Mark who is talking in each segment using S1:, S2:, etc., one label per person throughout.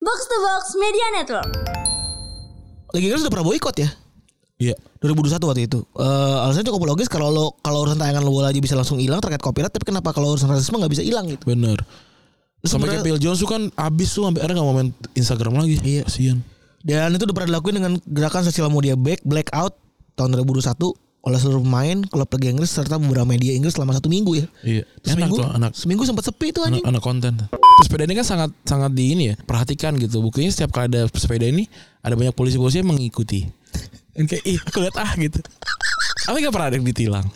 S1: Box to Box Media Network.
S2: Liga Inggris udah pernah boikot ya
S3: Iya.
S2: 2021 waktu itu Eh alasannya cukup logis kalau lo kalau urusan tayangan lo bola aja bisa langsung hilang terkait copyright tapi kenapa kalau urusan rasisme nggak bisa hilang gitu
S3: Bener.
S2: Terus
S3: Sampai
S2: sebenarnya-
S3: kayak Phil Jones tuh kan abis tuh sampai akhirnya gak mau main Instagram lagi.
S2: Iya.
S3: Kasian.
S2: dan itu udah pernah dilakuin dengan gerakan sosial media back blackout tahun 2021 oleh seluruh pemain klub Liga Inggris serta beberapa media Inggris selama satu minggu ya
S3: Iya.
S2: Terus
S3: Enak
S2: seminggu,
S3: tuh anak
S2: seminggu sempat sepi tuh
S3: anak,
S2: anjing.
S3: anak konten. Terus sepeda ini kan sangat sangat di ini ya. Perhatikan gitu. Buktinya setiap kali ada sepeda ini ada banyak polisi-polisi yang mengikuti. Dan kayak ih aku lihat ah gitu. Tapi gak pernah ada yang ditilang.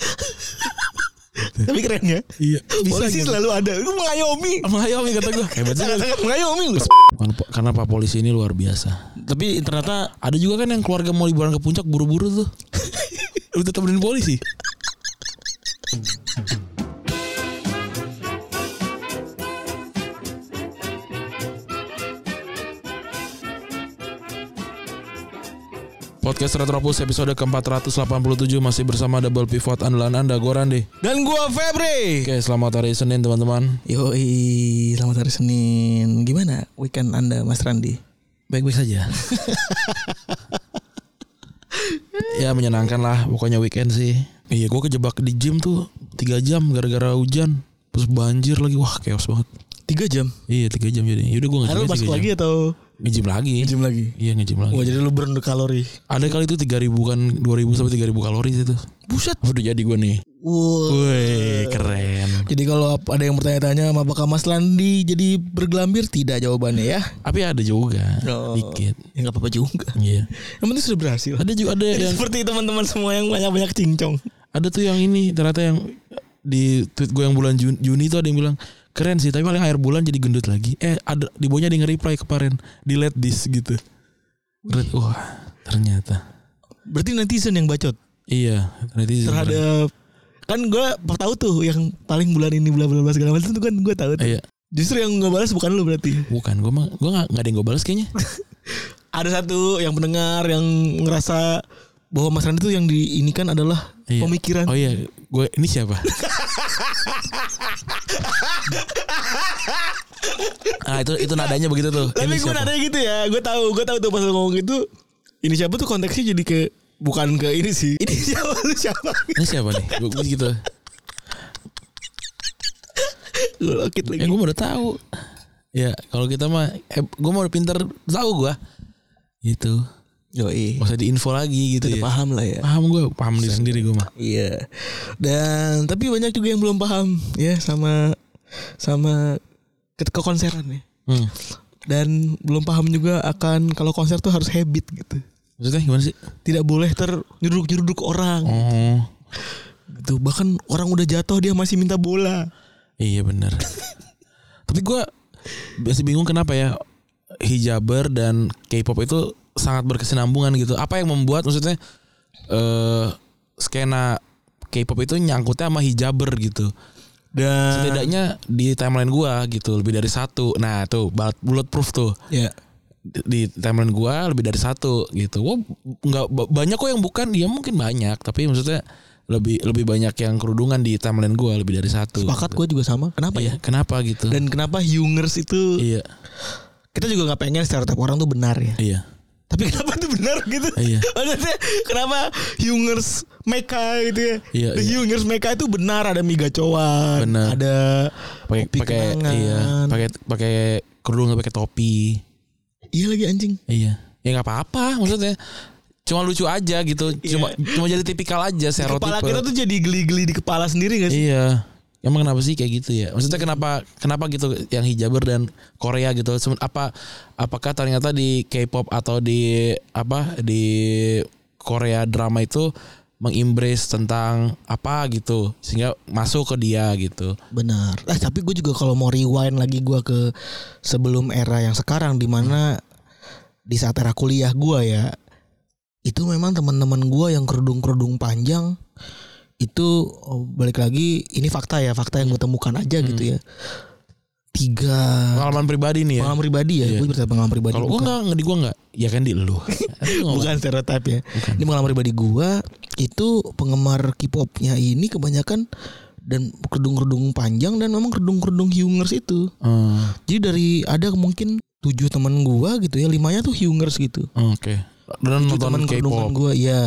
S2: Tapi keren ya.
S3: Iya. Bisa
S2: Polisi
S3: gitu.
S2: selalu ada. Gue mengayomi.
S3: Mengayomi kata gue. Hebat juga.
S2: Sangat-sangat mengayomi lu.
S3: Karena- Karena Pak Polisi ini luar biasa.
S2: Tapi ternyata
S3: Ada juga kan yang keluarga mau liburan ke puncak buru-buru tuh. Udah temenin polisi. Podcast Retropus episode ke-487 masih bersama double pivot andalan Anda gue Rande.
S2: dan gua Febri.
S3: Oke, selamat hari Senin teman-teman.
S4: Yoi, selamat hari Senin. Gimana weekend Anda, Mas Randi?
S3: Baik-baik saja. ya menyenangkan lah pokoknya weekend sih. Iya, gua kejebak di gym tuh 3 jam gara-gara hujan. Terus banjir lagi. Wah, chaos banget.
S4: Tiga jam.
S3: Iya, 3 jam jadi. Yaudah gua
S2: Lalu
S3: nge-gym
S2: masuk lagi atau
S3: Nge-gym lagi.
S4: Jam lagi. Oh,
S3: Iya, nge-gym lagi.
S2: Wah jadi lu burn kalori.
S3: Ada kali itu 3000 kan 2000 sampai 3000 kalori itu.
S4: Buset. Iya.
S3: Udah jadi gua nih.
S2: Wah.
S3: Wih, keren.
S4: Jadi kalau ap- ada yang bertanya-tanya sama apakah Mas Randi jadi bergelambir? Tidak jawabannya ya.
S3: Tapi ada juga
S4: Oh.
S3: dikit.
S4: Ya nggak apa-apa juga.
S3: Iya.
S4: Yang penting sudah berhasil.
S3: Ada juga ada yang
S4: Seperti teman-teman semua yang banyak-banyak cincong.
S3: ada tuh yang ini ternyata yang di tweet gue yang bulan Jun- Juni itu ada yang bilang keren sih tapi paling akhir bulan jadi gendut lagi eh ada di bawahnya ada yang reply kemarin delete this gitu Keren. wah ternyata
S4: Berarti netizen yang bacot
S3: iya netizen keren.
S4: terhadap kan gue tahu tuh yang paling bulan ini bulan bulan segala macam itu kan gue tahu tuh.
S3: Eh, iya
S4: Justru yang nggak balas bukan lu berarti.
S3: bukan gue mah gue nggak nggak ada yang gue balas kayaknya
S4: ada satu yang pendengar yang ngerasa bahwa Mas Randi tuh yang diinikan adalah
S3: Iya.
S4: pemikiran.
S3: oh iya gue ini siapa ah itu itu nadanya begitu tuh
S4: Tapi
S3: Ini
S4: gue
S3: siapa?
S4: nadanya gitu ya, gue tahu, gue tahu tuh pas lu ngomong itu ini siapa tuh konteksnya jadi ke bukan ke ini sih. Ini siapa lu siapa?
S3: ini siapa nih gue gitu
S4: Gue lokit
S3: Ya
S4: lagi.
S3: gue udah tahu. Ya kalau kita mah, eh, gue mau pinter tahu gue. Gitu.
S4: Yoi.
S3: Gak usah diinfo lagi gitu
S4: Udah
S3: ya. Paham,
S4: paham lah ya.
S3: gue, paham diri sendiri gue mah.
S4: Iya. Dan tapi banyak juga yang belum paham ya sama sama ke, ke konseran ya.
S3: Hmm.
S4: Dan belum paham juga akan kalau konser tuh harus habit gitu.
S3: Maksudnya gimana sih?
S4: Tidak boleh ternyeruduk-nyeruduk orang.
S3: Oh,
S4: Gitu. Bahkan orang udah jatuh dia masih minta bola.
S3: iya benar. Tapi gue biasa bingung kenapa ya hijaber dan K-pop itu sangat berkesinambungan gitu. Apa yang membuat maksudnya eh skena K-pop itu nyangkutnya sama hijaber gitu.
S4: Dan
S3: Setidaknya di timeline gua gitu lebih dari satu. Nah tuh bullet- bulletproof tuh.
S4: ya.
S3: di timeline gua lebih dari satu gitu. Wah, nggak ba- banyak kok yang bukan. Dia mungkin banyak, tapi maksudnya lebih lebih banyak yang kerudungan di timeline gua lebih dari satu.
S4: Sepakat gue juga sama. Kenapa
S3: Iya,
S4: ya?
S3: kenapa gitu?
S4: Dan kenapa Hyungers itu
S3: iya,
S4: kita juga nggak pengen stereotip orang tuh benar ya.
S3: iya.
S4: Tapi kenapa tuh benar gitu?
S3: Iya.
S4: Maksudnya kenapa Hyungers Meka gitu ya?
S3: Iya,
S4: The
S3: iya.
S4: Hyungers Meka itu benar ada migacoan,
S3: Benar.
S4: ada
S3: Pakai
S4: kopi
S3: pakai
S4: kenangan.
S3: iya, pakai pakai kerudung nggak pakai topi.
S4: Iya lagi anjing.
S3: Iya. Ya nggak apa-apa maksudnya. Cuma lucu aja gitu.
S4: Iya.
S3: Cuma cuma jadi tipikal aja stereotipe.
S4: Kepala kita tuh jadi geli-geli di kepala sendiri gak sih?
S3: Iya. Emang kenapa sih kayak gitu ya? Maksudnya kenapa kenapa gitu yang hijaber dan Korea gitu? Sem- Apa apakah ternyata di K-pop atau di apa di Korea drama itu mengimbrace tentang apa gitu sehingga masuk ke dia gitu.
S4: Benar. Eh tapi gue juga kalau mau rewind lagi gue ke sebelum era yang sekarang di mana di saat era kuliah gue ya itu memang teman-teman gue yang kerudung-kerudung panjang itu oh, balik lagi ini fakta ya fakta yang gue temukan aja gitu ya tiga
S3: Pengalaman pribadi nih ya.
S4: Ah. pengalaman pribadi ya
S3: Hmm. Iya.
S4: gue cerita pengalaman pribadi
S3: Kalau gua
S4: bukan,
S3: enggak di gua enggak. Ya kan di lu.
S4: bukan stereotip ya
S3: Bukan.
S4: ini pengalaman pribadi gue itu penggemar K-popnya ini kebanyakan dan kerudung-kerudung panjang dan memang kerudung-kerudung hyungers itu
S3: Hmm.
S4: Jadi dari ada mungkin tujuh temen gua gitu ya limanya tuh Hyungers gitu
S3: Oke. Dan
S4: tujuh
S3: nonton
S4: temen kerudungan
S3: K-pop.
S4: gua ya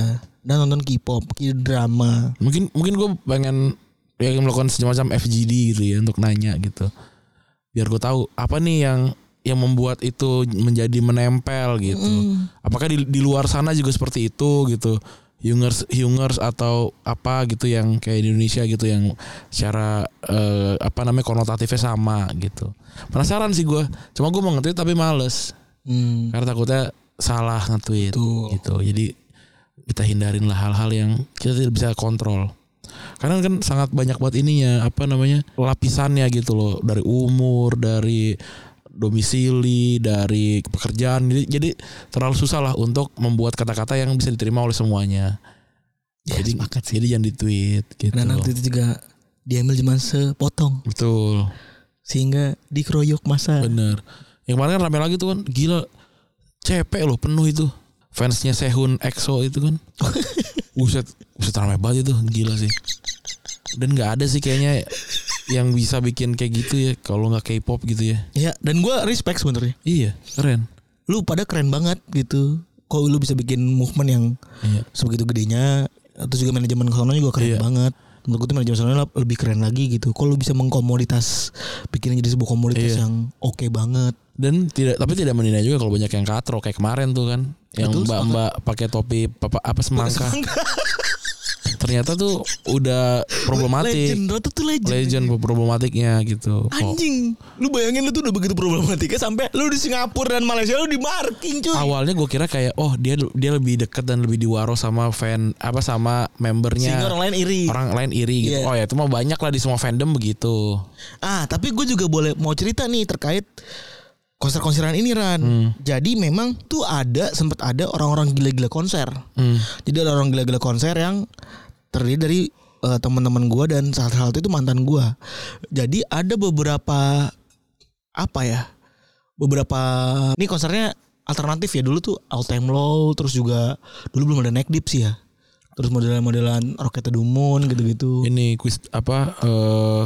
S4: dan nonton K-pop drama
S3: Mungkin mungkin gue pengen ya melakukan semacam FGD gitu ya untuk nanya gitu. Biar gue tahu apa nih yang yang membuat itu menjadi menempel gitu.
S4: Mm.
S3: Apakah di, di luar sana juga seperti itu gitu? Hungers Hungers atau apa gitu yang kayak di Indonesia gitu yang secara eh, apa namanya konotatifnya sama gitu. Penasaran sih gue. Cuma gue mau nge-tweet tapi males.
S4: hmm.
S3: Karena takutnya salah nge-tweet
S4: Betul.
S3: gitu. Jadi kita hindarin lah hal-hal yang kita tidak bisa kontrol. Karena kan sangat banyak banget ininya apa namanya lapisannya gitu loh dari umur, dari domisili, dari pekerjaan. Jadi, jadi terlalu susah lah untuk membuat kata-kata yang bisa diterima oleh semuanya.
S4: Ya,
S3: jadi,
S4: sepakat sih.
S3: jadi jangan di-tweet gitu.
S4: dan nanti itu juga diambil cuma sepotong
S3: Betul.
S4: sehingga dikeroyok masa
S3: Bener. Yang kemarin kan rame lagi tuh kan gila. CP loh penuh itu. Fansnya Sehun EXO itu kan. Buset, buset rame banget itu gila sih. Dan nggak ada sih kayaknya yang bisa bikin kayak gitu ya kalau nggak K-pop gitu ya.
S4: ya dan gua respect sebenarnya
S3: Iya, keren.
S4: lu pada keren banget gitu kok lu bisa bikin movement yang
S3: Iya.
S4: sebegitu gedenya terus juga manajemen sana juga keren
S3: Iya.
S4: banget menurut gue tuh manajemen sana lab- lebih keren lagi gitu kok lu bisa mengkomoditas bikin jadi sebuah komoditas
S3: Iya.
S4: yang oke banget
S3: Dan tidak tapi tidak menilai juga kalau banyak yang katro kayak kemarin tuh kan yang
S4: Betul,
S3: mbak-mbak pakai topi apa, apa semangka. Ternyata tuh udah
S4: legend
S3: problematik.
S4: Roto tuh legend
S3: Legend problematiknya gitu. Oh.
S4: anjing lu bayangin lu tuh udah begitu problematika sampai lu di Singapura dan Malaysia lu di marking cuy
S3: awalnya gue kira kayak oh dia dia lebih dekat dan lebih diwaro sama fan apa sama membernya
S4: sehingga orang lain iri
S3: orang lain iri gitu.
S4: Iya.
S3: Oh ya itu mah banyak lah di semua fandom begitu.
S4: Ah, tapi gue juga boleh mau cerita nih terkait konser-konseran ini Ran.
S3: Hmm.
S4: Jadi memang tuh ada sempat ada orang-orang gila-gila konser.
S3: Hmm.
S4: Jadi ada orang gila-gila konser yang terdiri dari eh, teman-teman gua dan saat hal itu mantan gua. Jadi ada beberapa apa ya? Beberapa ini konsernya alternatif ya dulu tuh All Time Low terus juga dulu belum ada Neck Deep sih ya. Terus modelan-modelan Rocket to the Moon gitu-gitu.
S3: Ini kuis apa eh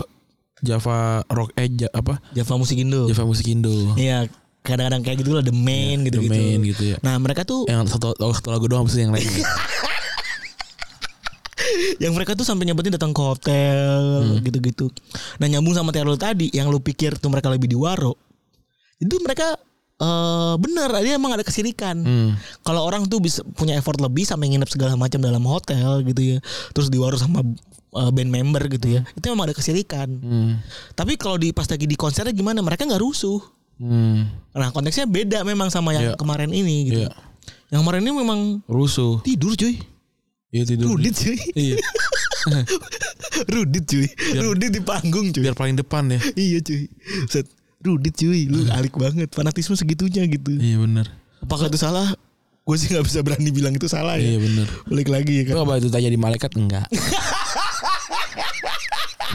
S3: Java Rock eh Ja- apa
S4: Java Musik Indo.
S3: Java Musik Indo.
S4: Iya kadang-kadang kayak gitu lah The Main gitu gitu.
S3: Domain gitu ya.
S4: Nah mereka tuh
S3: Yang satu, oh, satu lagu doang habis itu yang lain.
S4: yang mereka tuh sampai nyebutin datang ke hotel
S3: Hmm.
S4: gitu-gitu. Nah nyambung sama Terlo tadi yang lu pikir tuh mereka lebih diwaro. Itu mereka eh benar dia emang ada kesirikan.
S3: Hmm.
S4: Kalau orang tuh bisa punya effort lebih sampai nginep segala macam dalam hotel gitu ya. Terus diwaro sama eh, band member gitu ya. Itu emang ada kesirikan.
S3: Hmm.
S4: Tapi kalau di pas lagi di konsernya gimana? Mereka nggak rusuh.
S3: Hmm.
S4: Nah konteksnya beda memang sama yang
S3: Iya.
S4: kemarin ini gitu.
S3: Iya.
S4: Yang kemarin ini memang
S3: Rusuh.
S4: tidur cuy.
S3: Iya tidur.
S4: Rudit cuy
S3: Iya.
S4: Rudit cuy Rudit di panggung cuy
S3: Biar paling depan ya.
S4: Iya cuy Set Rudit cuy Lu alik banget Fanatisme segitunya gitu
S3: Iya benar.
S4: Apakah itu salah Gue sih gak bisa berani bilang itu salah ya
S3: Iya benar.
S4: Balik lagi ya kan
S3: Itu apa itu tanya di malaikat enggak?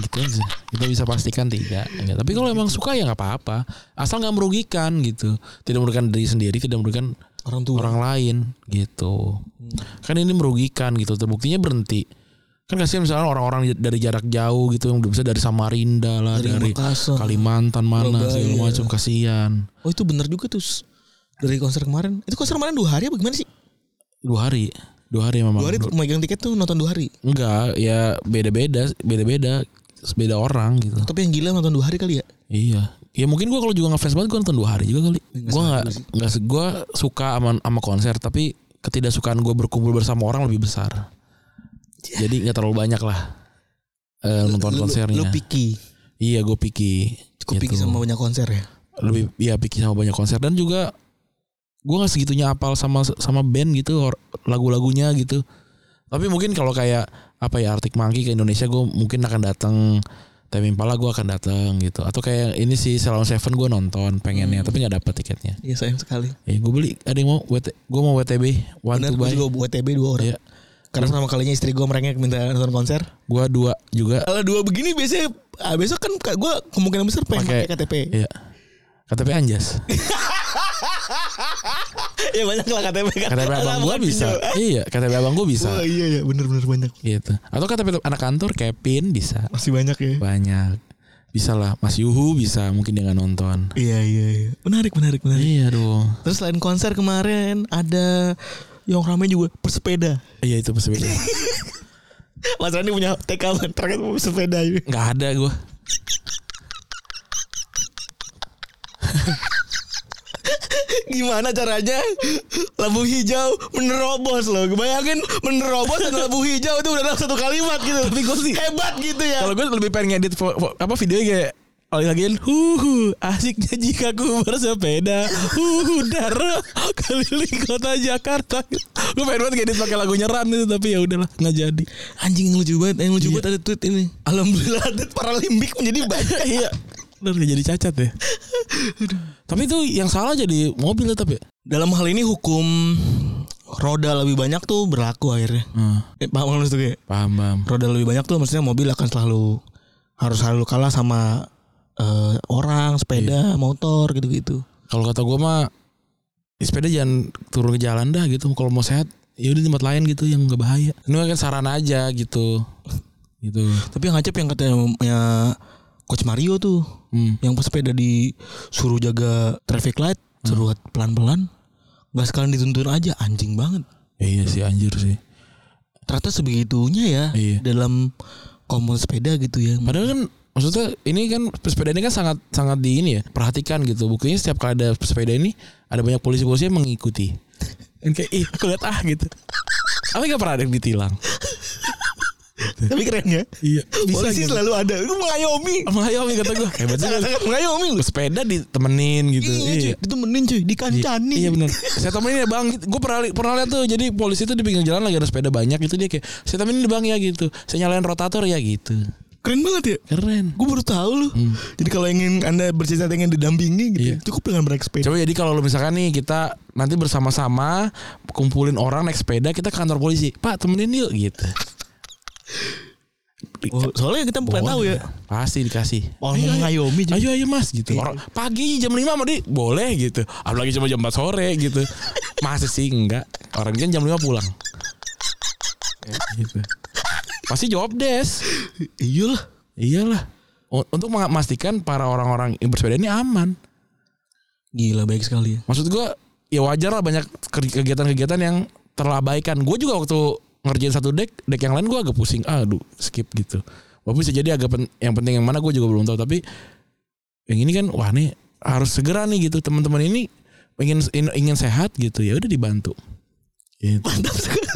S3: gitu aja. Kita bisa pastikan tidak. Enggak. Tapi kalau emang suka ya nggak apa-apa. Asal nggak merugikan gitu. Tidak merugikan diri sendiri, tidak merugikan
S4: Orang tua
S3: orang lain gitu.
S4: Hmm.
S3: Kan ini merugikan gitu. Terbuktinya berhenti. Kan kasihan misalnya orang-orang dari jarak jauh gitu yang udah bisa dari Samarinda lah,
S4: Dari
S3: dari,
S4: Makassar.
S3: Kalimantan mana
S4: Surabaya.
S3: segala macam kasihan.
S4: Oh itu bener juga tuh s- Dari konser kemarin Itu konser kemarin dua hari apa gimana sih
S3: Dua hari, dua hari memang.
S4: Dua hari megang tiket tuh nonton dua hari
S3: Enggak, ya beda-beda, beda-beda, beda orang gitu.
S4: Tapi yang gila nonton dua hari kali ya
S3: Iya. Ya mungkin gua kalau juga ngefans banget gua nonton dua hari juga kali. Gua nggak nggak se- gua suka sama sama konser tapi ketidaksukaan gua berkumpul bersama orang lebih besar. Jadi nggak terlalu banyak lah eh,
S4: Iya.
S3: nonton
S4: Lu- lu-
S3: konsernya.
S4: Lu piki
S3: iya, gua piki.
S4: Cukup piki
S3: Gitu.
S4: sama banyak konser ya
S3: lebih ya piki sama banyak konser dan juga gua nggak segitunya apal sama sama band gitu or- lagu-lagunya gitu. Tapi mungkin kalau kayak apa ya Arctic Monkey ke Indonesia gua mungkin akan datang Tame Impala gua akan datang gitu. Atau kayak ini sih Salon Seven gua nonton pengennya
S4: Hmm.
S3: tapi nggak dapet tiketnya.
S4: Iya sayang sekali
S3: Eh gua beli ada yang mau WT, gua mau WTB one
S4: Bener
S3: to
S4: gue
S3: buy.
S4: juga buat TB dua orang
S3: Iya.
S4: Karena pertama kalinya istri gue merengek minta nonton konser.
S3: Gua dua juga
S4: Kalau dua begini biasanya ah, besok kan gue kemungkinan besar pengen pakai
S3: pakai
S4: KTP.
S3: Iya. KTP Anjas.
S4: ya banyak lah KTP.
S3: KTP abang gua
S4: Bukan
S3: bisa.
S4: pinjol.
S3: Iya, KTP abang gua bisa.
S4: Wah, iya iya bener bener banyak.
S3: Gitu. Atau KTP anak kantor Kevin bisa.
S4: Masih banyak ya.
S3: Banyak. bisa lah Mas Yuhu bisa mungkin dia nggak nonton
S4: Iya iya iya. Menarik menarik menarik.
S3: iya dong
S4: Terus selain konser kemarin ada yang ramai juga pesepeda.
S3: iya itu pesepeda
S4: Mas Rani punya TK terkait pesepeda ini.
S3: nggak ada gue
S4: Gimana caranya lampu hijau menerobos loh. Bayangin menerobos dan lampu hijau itu udah dalam satu kalimat gitu. Tapi gue sih hebat gitu ya.
S3: kalau gue lebih pengen ngedit fo- fo- apa videonya kayak Oli lagi huhu asiknya jika ku bersepeda huhu dara keliling kota Jakarta gue pengen banget ngedit pakai lagunya Ran itu tapi ya udahlah nggak jadi Iya.
S4: Anjing yang lucu banget, yang lucu banget ada tweet ini. Alhamdulillah atlet paralimpik menjadi banyak.
S3: iya udah nggak jadi cacat ya tapi itu yang salah jadi mobil ya. tapi
S4: Dalam hal ini hukum roda lebih banyak tuh berlaku akhirnya.
S3: hmm,
S4: Eh, paham kan maksudnya?
S3: paham paham
S4: roda lebih banyak tuh maksudnya mobil akan selalu harus selalu kalah sama eh, orang, sepeda,
S3: Iya.
S4: motor gitu-gitu.
S3: kalau kata gue mah ya sepeda jangan turun ke jalan dah gitu kalau mau sehat ya udah di tempat lain gitu yang nggak bahaya ini kan saran aja gitu gitu
S4: Tapi yang ngacep yang katanya ya, Coach Mario tuh
S3: hmm.
S4: yang pesepeda disuruh jaga traffic light,
S3: Hmm.
S4: suruh pelan-pelan. Gak sekalian dituntun aja anjing banget.
S3: Ya iya sih anjir sih
S4: Ternyata sebegitunya ya
S3: Iya.
S4: dalam komunitas sepeda gitu ya.
S3: Padahal kan maksudnya ini kan sepeda ini kan sangat sangat di ini ya perhatikan gitu. Buktinya setiap kali ada sepeda ini ada banyak polisi-polisi yang mengikuti. Dan kayak ih aku lihat ah gitu. Tapi gak pernah ada yang ditilang.
S4: Tapi keren ya.
S3: Iya. Bisa
S4: Polisi
S3: gitu.
S4: selalu ada. Lu mengayomi.
S3: Mengayomi kata gue Hebat juga
S4: Sangat-sangat mengayomi lu.
S3: Sepeda ditemenin gitu
S4: Iya, cuy. Ditemenin cuy, dikancani.
S3: Iya benar. Saya temenin ya bang. Gue pernah li- pernah lihat tuh. Jadi polisi tuh di pinggir jalan lagi ada sepeda banyak itu dia kayak saya temenin deh, bang ya gitu. Saya nyalain rotator ya gitu.
S4: Keren banget ya.
S3: Keren.
S4: Gue baru tahu loh. Jadi kalau ingin anda bercerita ingin didampingi gitu,
S3: Hmm. Iya.
S4: cukup dengan naik sepeda.
S3: Coba jadi kalau lu misalkan nih kita nanti bersama-sama kumpulin orang naik sepeda kita ke kantor polisi. Pak temenin yuk gitu.
S4: Oh, soalnya kita bukan tahu ya.
S3: Pasti dikasih.
S4: Orang mengayomi juga.
S3: Ayo ayo mas gitu. Orang pagi jam 5 sama dia boleh gitu. Apalagi cuma jam 4 sore gitu. Masih sih enggak. Orang kan jam 5 pulang. Ya, gitu. Pasti jawab des.
S4: Iyalah.
S3: Iyalah. U- Untuk memastikan para orang-orang yang bersepeda ini aman.
S4: Gila baik sekali ya.
S3: Maksud gue ya wajar lah banyak ke- kegiatan-kegiatan yang terlabaikan. Gue juga waktu ngerjain satu deck, deck yang lain gue agak pusing. Aduh, skip gitu. Walaupun bisa jadi agak pen- yang penting yang mana gue juga belum tahu. Tapi yang ini kan wah nih harus segera nih gitu teman-teman ini ingin ingin sehat gitu ya udah dibantu. Gitu.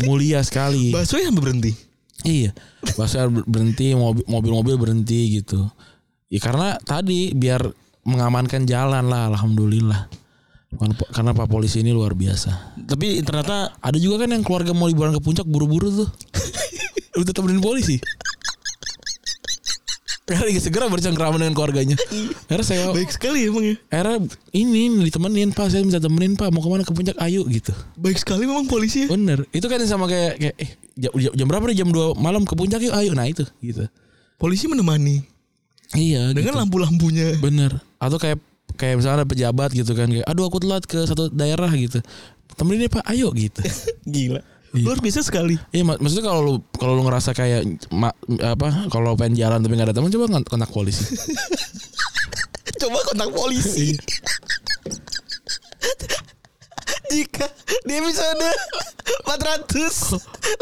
S3: Mulia sekali.
S4: Basoy sampai berhenti.
S3: Iya, pasar ber- berhenti, mobil- mobil-mobil berhenti gitu. Ya karena tadi biar mengamankan jalan lah, alhamdulillah. Karena, karena pak polisi ini luar biasa.
S4: Tapi ternyata
S3: Ada juga kan yang keluarga mau liburan ke puncak buru-buru tuh. Udah temenin polisi. Karena lagi segera bercengkrama dengan keluarganya. Karena saya,
S4: baik sekali emang ya.
S3: karena ini ditemenin pak, saya minta temenin pak, mau kemana ke puncak, ayo gitu.
S4: Baik sekali memang polisi ya.
S3: Bener, itu kan sama kayak, kayak eh, jam, jam berapa nih jam 2 malam ke puncak yuk, ayo. Nah itu gitu.
S4: Polisi menemani
S3: Iya. gitu.
S4: dengan lampu-lampunya.
S3: Bener. Atau kayak kayak misalnya ada pejabat gitu kan kayak aduh aku telat ke satu daerah gitu. Temenin deh Pak, ayo gitu.
S4: Gila.
S3: Iya.
S4: Luar biasa sekali.
S3: Iya mak- maksudnya kalau lu kalau lu ngerasa kayak ma- apa kalau pengen jalan tapi nggak ada teman coba ngon- kontak polisi.
S4: Coba kontak polisi. Jika di episode 487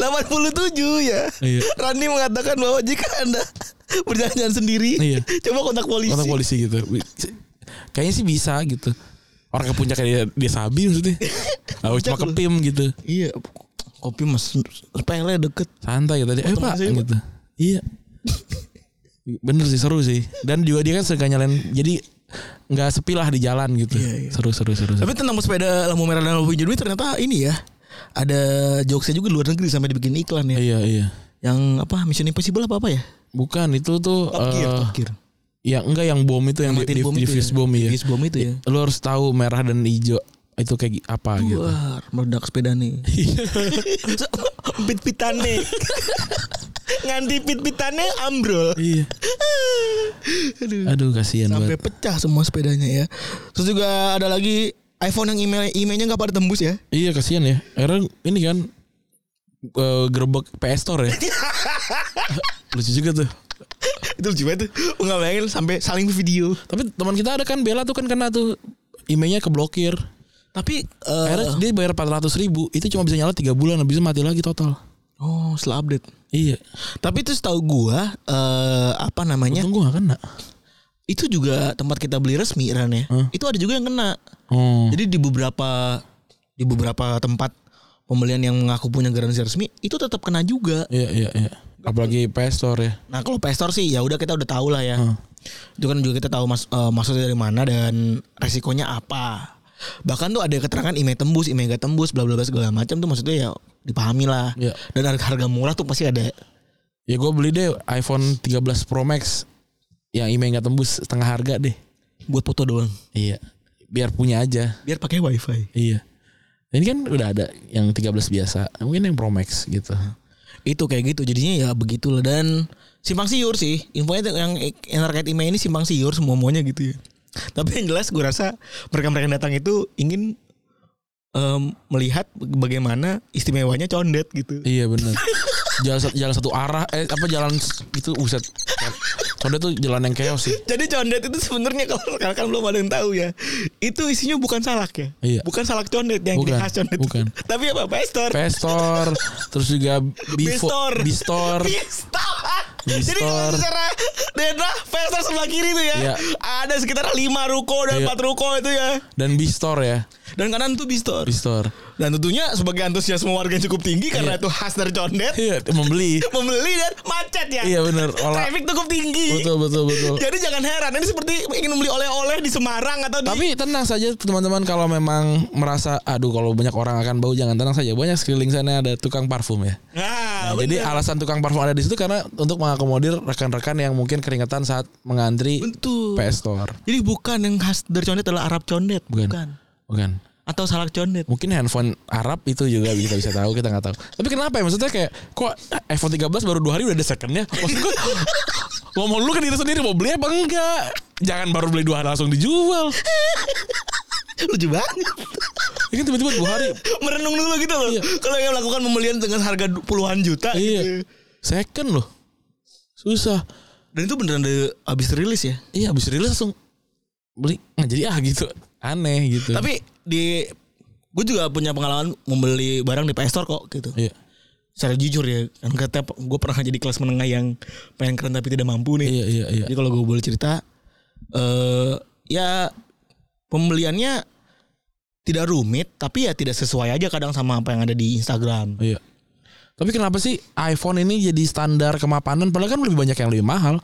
S4: ya.
S3: Iya.
S4: Rani mengatakan bahwa jika Anda berjalan sendiri,
S3: Iya.
S4: coba kontak polisi.
S3: kontak polisi gitu. Kayaknya sih bisa gitu. Orang ke puncak dia, dia sabi maksudnya. Aku cuma kepim gitu.
S4: Iya. Kopi mas sepele deket.
S3: Santai gitu. Eh Pak
S4: Potong aja, Pak.
S3: gitu. Iya. Bener sih seru sih. Dan juga dia kan suka nyalain jadi nggak sepi lah di jalan gitu. Seru seru seru. seru.
S4: Iya, Tapi tentang sepeda lampu merah dan lampu hijau ini ternyata ini ya. Ada jokesnya juga di luar negeri sampai dibikin iklan ya.
S3: Iya iya.
S4: Yang apa Mission Impossible apa apa ya?
S3: Bukan itu tuh
S4: Top Gear,
S3: eh,
S4: Top Gear.
S3: yang enggak yang bom itu yang,
S4: Matiin
S3: di,
S4: bom
S3: di,
S4: itu ya.
S3: diffuse bom ya.
S4: Diffuse bom itu ya.
S3: Lu harus tahu merah dan hijau itu kayak gi- apa gitu.
S4: Wah, meledak sepeda nih.
S3: Iya.
S4: Pit-pitane. Nganti pit-pitane ambrol.
S3: Iya.
S4: Aduh.
S3: Aduh kasihan
S4: Sampai
S3: banget.
S4: pecah semua sepedanya ya. Terus juga ada lagi iPhone yang email emailnya nggak pada tembus ya.
S3: Iya kasihan ya. Karena ini kan eh, gerbek PS Store ya. Lucu juga tuh.
S4: itu lucu banget tuh. Nggak bayangin sampai saling video.
S3: Tapi teman kita ada kan Bella tuh kan kena tuh emailnya keblokir.
S4: Tapi eh,
S3: Akhirnya dia bayar 400 ribu itu cuma bisa nyala 3 bulan habis itu mati lagi total.
S4: oh setelah update.
S3: Iya.
S4: Tapi itu setahu gua eh apa namanya?
S3: Untung gua gak kena.
S4: Itu juga tempat kita beli resmi Ran ya.
S3: Hah?
S4: Itu ada juga yang kena.
S3: Oh.
S4: Jadi di beberapa di beberapa tempat pembelian yang mengaku punya garansi resmi itu tetap kena juga.
S3: Iya iya iya. Apalagi PS Store ya.
S4: Nah kalau pestor sih ya udah kita udah tahu lah ya.
S3: Hmm.
S4: Itu kan juga kita tahu mas, eh, maksudnya dari mana dan resikonya apa. Bahkan tuh ada keterangan IMEI tembus, IMEI gak tembus, bla bla bla segala macam tuh maksudnya ya dipahami lah.
S3: Iya.
S4: Dan harga, harga murah tuh pasti ada.
S3: Ya gua beli deh iPhone 13 Pro Max yang email nggak tembus setengah harga deh.
S4: Buat foto doang.
S3: Iya. Biar punya aja.
S4: Biar pakai wifi.
S3: Iya. Ini kan udah ada yang 13 biasa, mungkin yang Pro Max gitu.
S4: Itu kayak gitu. Jadinya ya begitulah dan simpang siur sih. Infonya tuh yang, yang terkait IMEI ini simpang siur semuanya gitu ya. Tapi yang jelas gue rasa mereka-mereka yang datang itu ingin em, melihat bagaimana istimewanya condet gitu.
S3: Iya benar. jalan sat- jalan satu arah eh apa jalan s- itu uset. Soalnya tuh jalan yang chaos sih.
S4: Jadi condet itu sebenarnya kalau rekan-rekan belum ada yang tahu ya. Itu isinya bukan salak ya.
S3: Iya.
S4: Bukan salak condet yang
S3: Bukan,
S4: ciri khas condet.
S3: bukan.
S4: Tapi apa? Pestor.
S3: Pestor, terus juga
S4: Bistor.
S3: Bifo- Bistor.
S4: Bistor. Jadi
S3: Bistor.
S4: kalau secara daerah Pestor sebelah kiri itu ya.
S3: Iya.
S4: Ada sekitar 5 ruko dan
S3: Iya.
S4: 4 ruko itu ya.
S3: dan Bistor ya.
S4: Dan kanan itu Bistor.
S3: Bistor.
S4: Dan tentunya sebagai antusiasme warga yang cukup tinggi karena itu khas dari condet.
S3: Iya, membeli.
S4: Membeli dan macet ya.
S3: Iya benar. Olah.
S4: Traffic cukup tinggi.
S3: Betul betul betul.
S4: Jadi jangan heran ini seperti ingin membeli oleh-oleh di Semarang atau di
S3: Tapi tenang saja teman-teman kalau memang merasa aduh kalau banyak orang akan bau jangan tenang saja banyak sekeliling sana ada tukang parfum ya.
S4: Nah,
S3: Nah, jadi alasan tukang parfum ada di situ karena untuk mengakomodir rekan-rekan yang mungkin keringetan saat mengantri
S4: Betul.
S3: PS Store.
S4: Jadi bukan yang khas dari condet adalah Arab condet, bukan.
S3: Bukan.
S4: Atau salak condet.
S3: Mungkin handphone Arab itu juga kita bisa tahu kita nggak tahu. Tapi kenapa ya maksudnya kayak kok eh, iPhone 13 baru dua hari udah ada secondnya? Maksud gue ngomong lu ke diri sendiri mau beli apa enggak? Jangan baru beli dua hari langsung dijual.
S4: Lucu banget.
S3: Ya kan tiba-tiba dua hari.
S4: Merenung dulu gitu loh. Kalau yang melakukan pembelian dengan harga du- puluhan juta
S3: Iya.
S4: gitu.
S3: Second loh. Susah.
S4: Dan itu beneran dari habis rilis ya.
S3: Iya habis rilis langsung beli. Nah, jadi ah gitu. Aneh gitu.
S4: Tapi di gue juga punya pengalaman membeli barang di PS Store kok gitu.
S3: iya.
S4: Secara jujur ya, kan kata gue pernah jadi kelas menengah yang pengen keren tapi tidak mampu nih.
S3: Iya iya iya.
S4: Jadi kalau gue boleh cerita eh ya pembeliannya tidak rumit tapi ya tidak sesuai aja kadang sama apa yang ada di Instagram.
S3: Iya. Tapi kenapa sih iPhone ini jadi standar kemapanan padahal kan lebih banyak yang lebih mahal.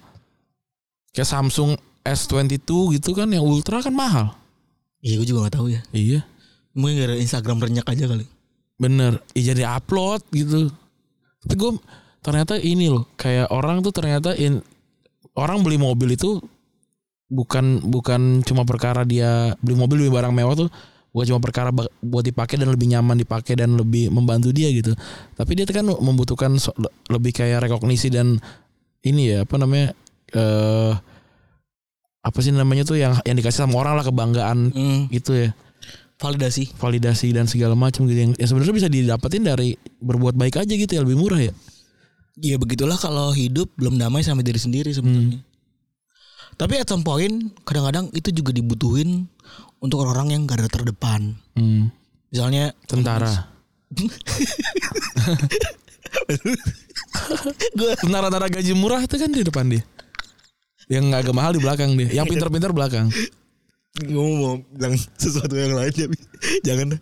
S3: Kayak Samsung S22 gitu kan yang ultra kan mahal.
S4: Iya gue juga gak tahu ya.
S3: Iya.
S4: Mungkin gara Instagram renyak aja kali.
S3: Bener. Iya jadi upload gitu. Tapi gue ternyata ini loh kayak orang tuh ternyata in, orang beli mobil itu bukan bukan cuma perkara dia beli mobil beli barang mewah tuh bukan cuma perkara ba- buat dipakai dan lebih nyaman dipakai dan lebih membantu dia gitu. Tapi dia tuh kan membutuhkan so- le- lebih kayak rekognisi dan ini ya apa namanya eh apa sih namanya tuh yang yang dikasih sama orang lah kebanggaan
S4: Hmm,
S3: gitu ya
S4: validasi.
S3: validasi dan segala macam gitu yang, yang sebenarnya bisa didapetin dari berbuat baik aja gitu ya lebih murah ya.
S4: Iya begitulah kalau hidup belum damai sama diri sendiri sebenarnya. Tapi at some point kadang-kadang itu juga dibutuhin untuk orang-orang yang garda terdepan.
S3: Hmm.
S4: Misalnya
S3: Tentara. Tentara-tentara gaji murah itu kan di depan dia. Yang agak mahal di belakang dia. Yang pintar-pintar belakang.
S4: gue mau bilang sesuatu yang lain tapi jangan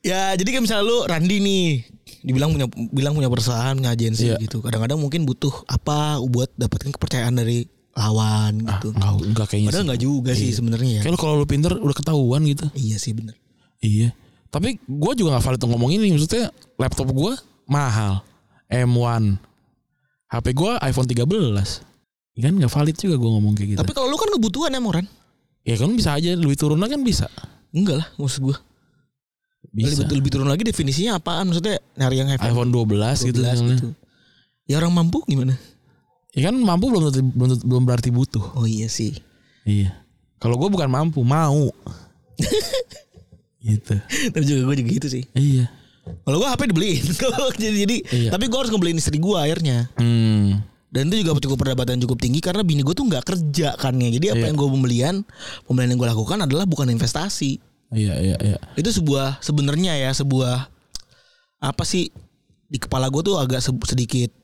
S4: ya jadi kayak misalnya lu Randi nih dibilang punya bilang punya perusahaan punya agensi
S3: Iya.
S4: gitu kadang-kadang mungkin butuh apa buat dapetin kepercayaan dari lawan
S3: Ah,
S4: gitu
S3: enggak, enggak kayaknya
S4: padahal
S3: sih.
S4: nggak juga sih sebenarnya ya
S3: Kayak lu kalau lu pinter udah ketahuan gitu.
S4: iya sih bener
S3: Iya. Tapi gue juga gak valid untuk ngomong ini. Maksudnya laptop gue mahal. M1. HP gue iPhone 13. Ya kan gak valid juga gue ngomong kayak gitu.
S4: tapi kalau lu kan kebutuhan ya Moran
S3: ya kan bisa aja. Lebih turunan kan bisa.
S4: enggak lah maksud gue
S3: Bisa.
S4: lebih, lebih turun lagi definisinya apaan maksudnya nyari yang iPhone
S3: iPhone 12,
S4: 12
S3: gitu. misalnya.
S4: gitu. ya orang mampu gimana
S3: Ya kan mampu belum tentu- belum, tentu- belum berarti butuh.
S4: oh iya sih
S3: Iya. Kalau gue bukan mampu, mau. gitu.
S4: tapi juga gue juga gitu sih
S3: Iya.
S4: kalau gue HP dibeliin jadi jadi
S3: Iya.
S4: tapi gue harus ngebeliin istri gue akhirnya
S3: Hmm.
S4: Dan itu juga cukup perdebatan cukup tinggi karena bini gue tuh nggak kerja kan ya. Jadi apa
S3: Iya.
S4: yang gue pembelian, pembelian yang gue lakukan adalah bukan investasi.
S3: Iya iya iya.
S4: Itu sebuah sebenarnya ya sebuah apa sih di kepala gue tuh agak se- sedikit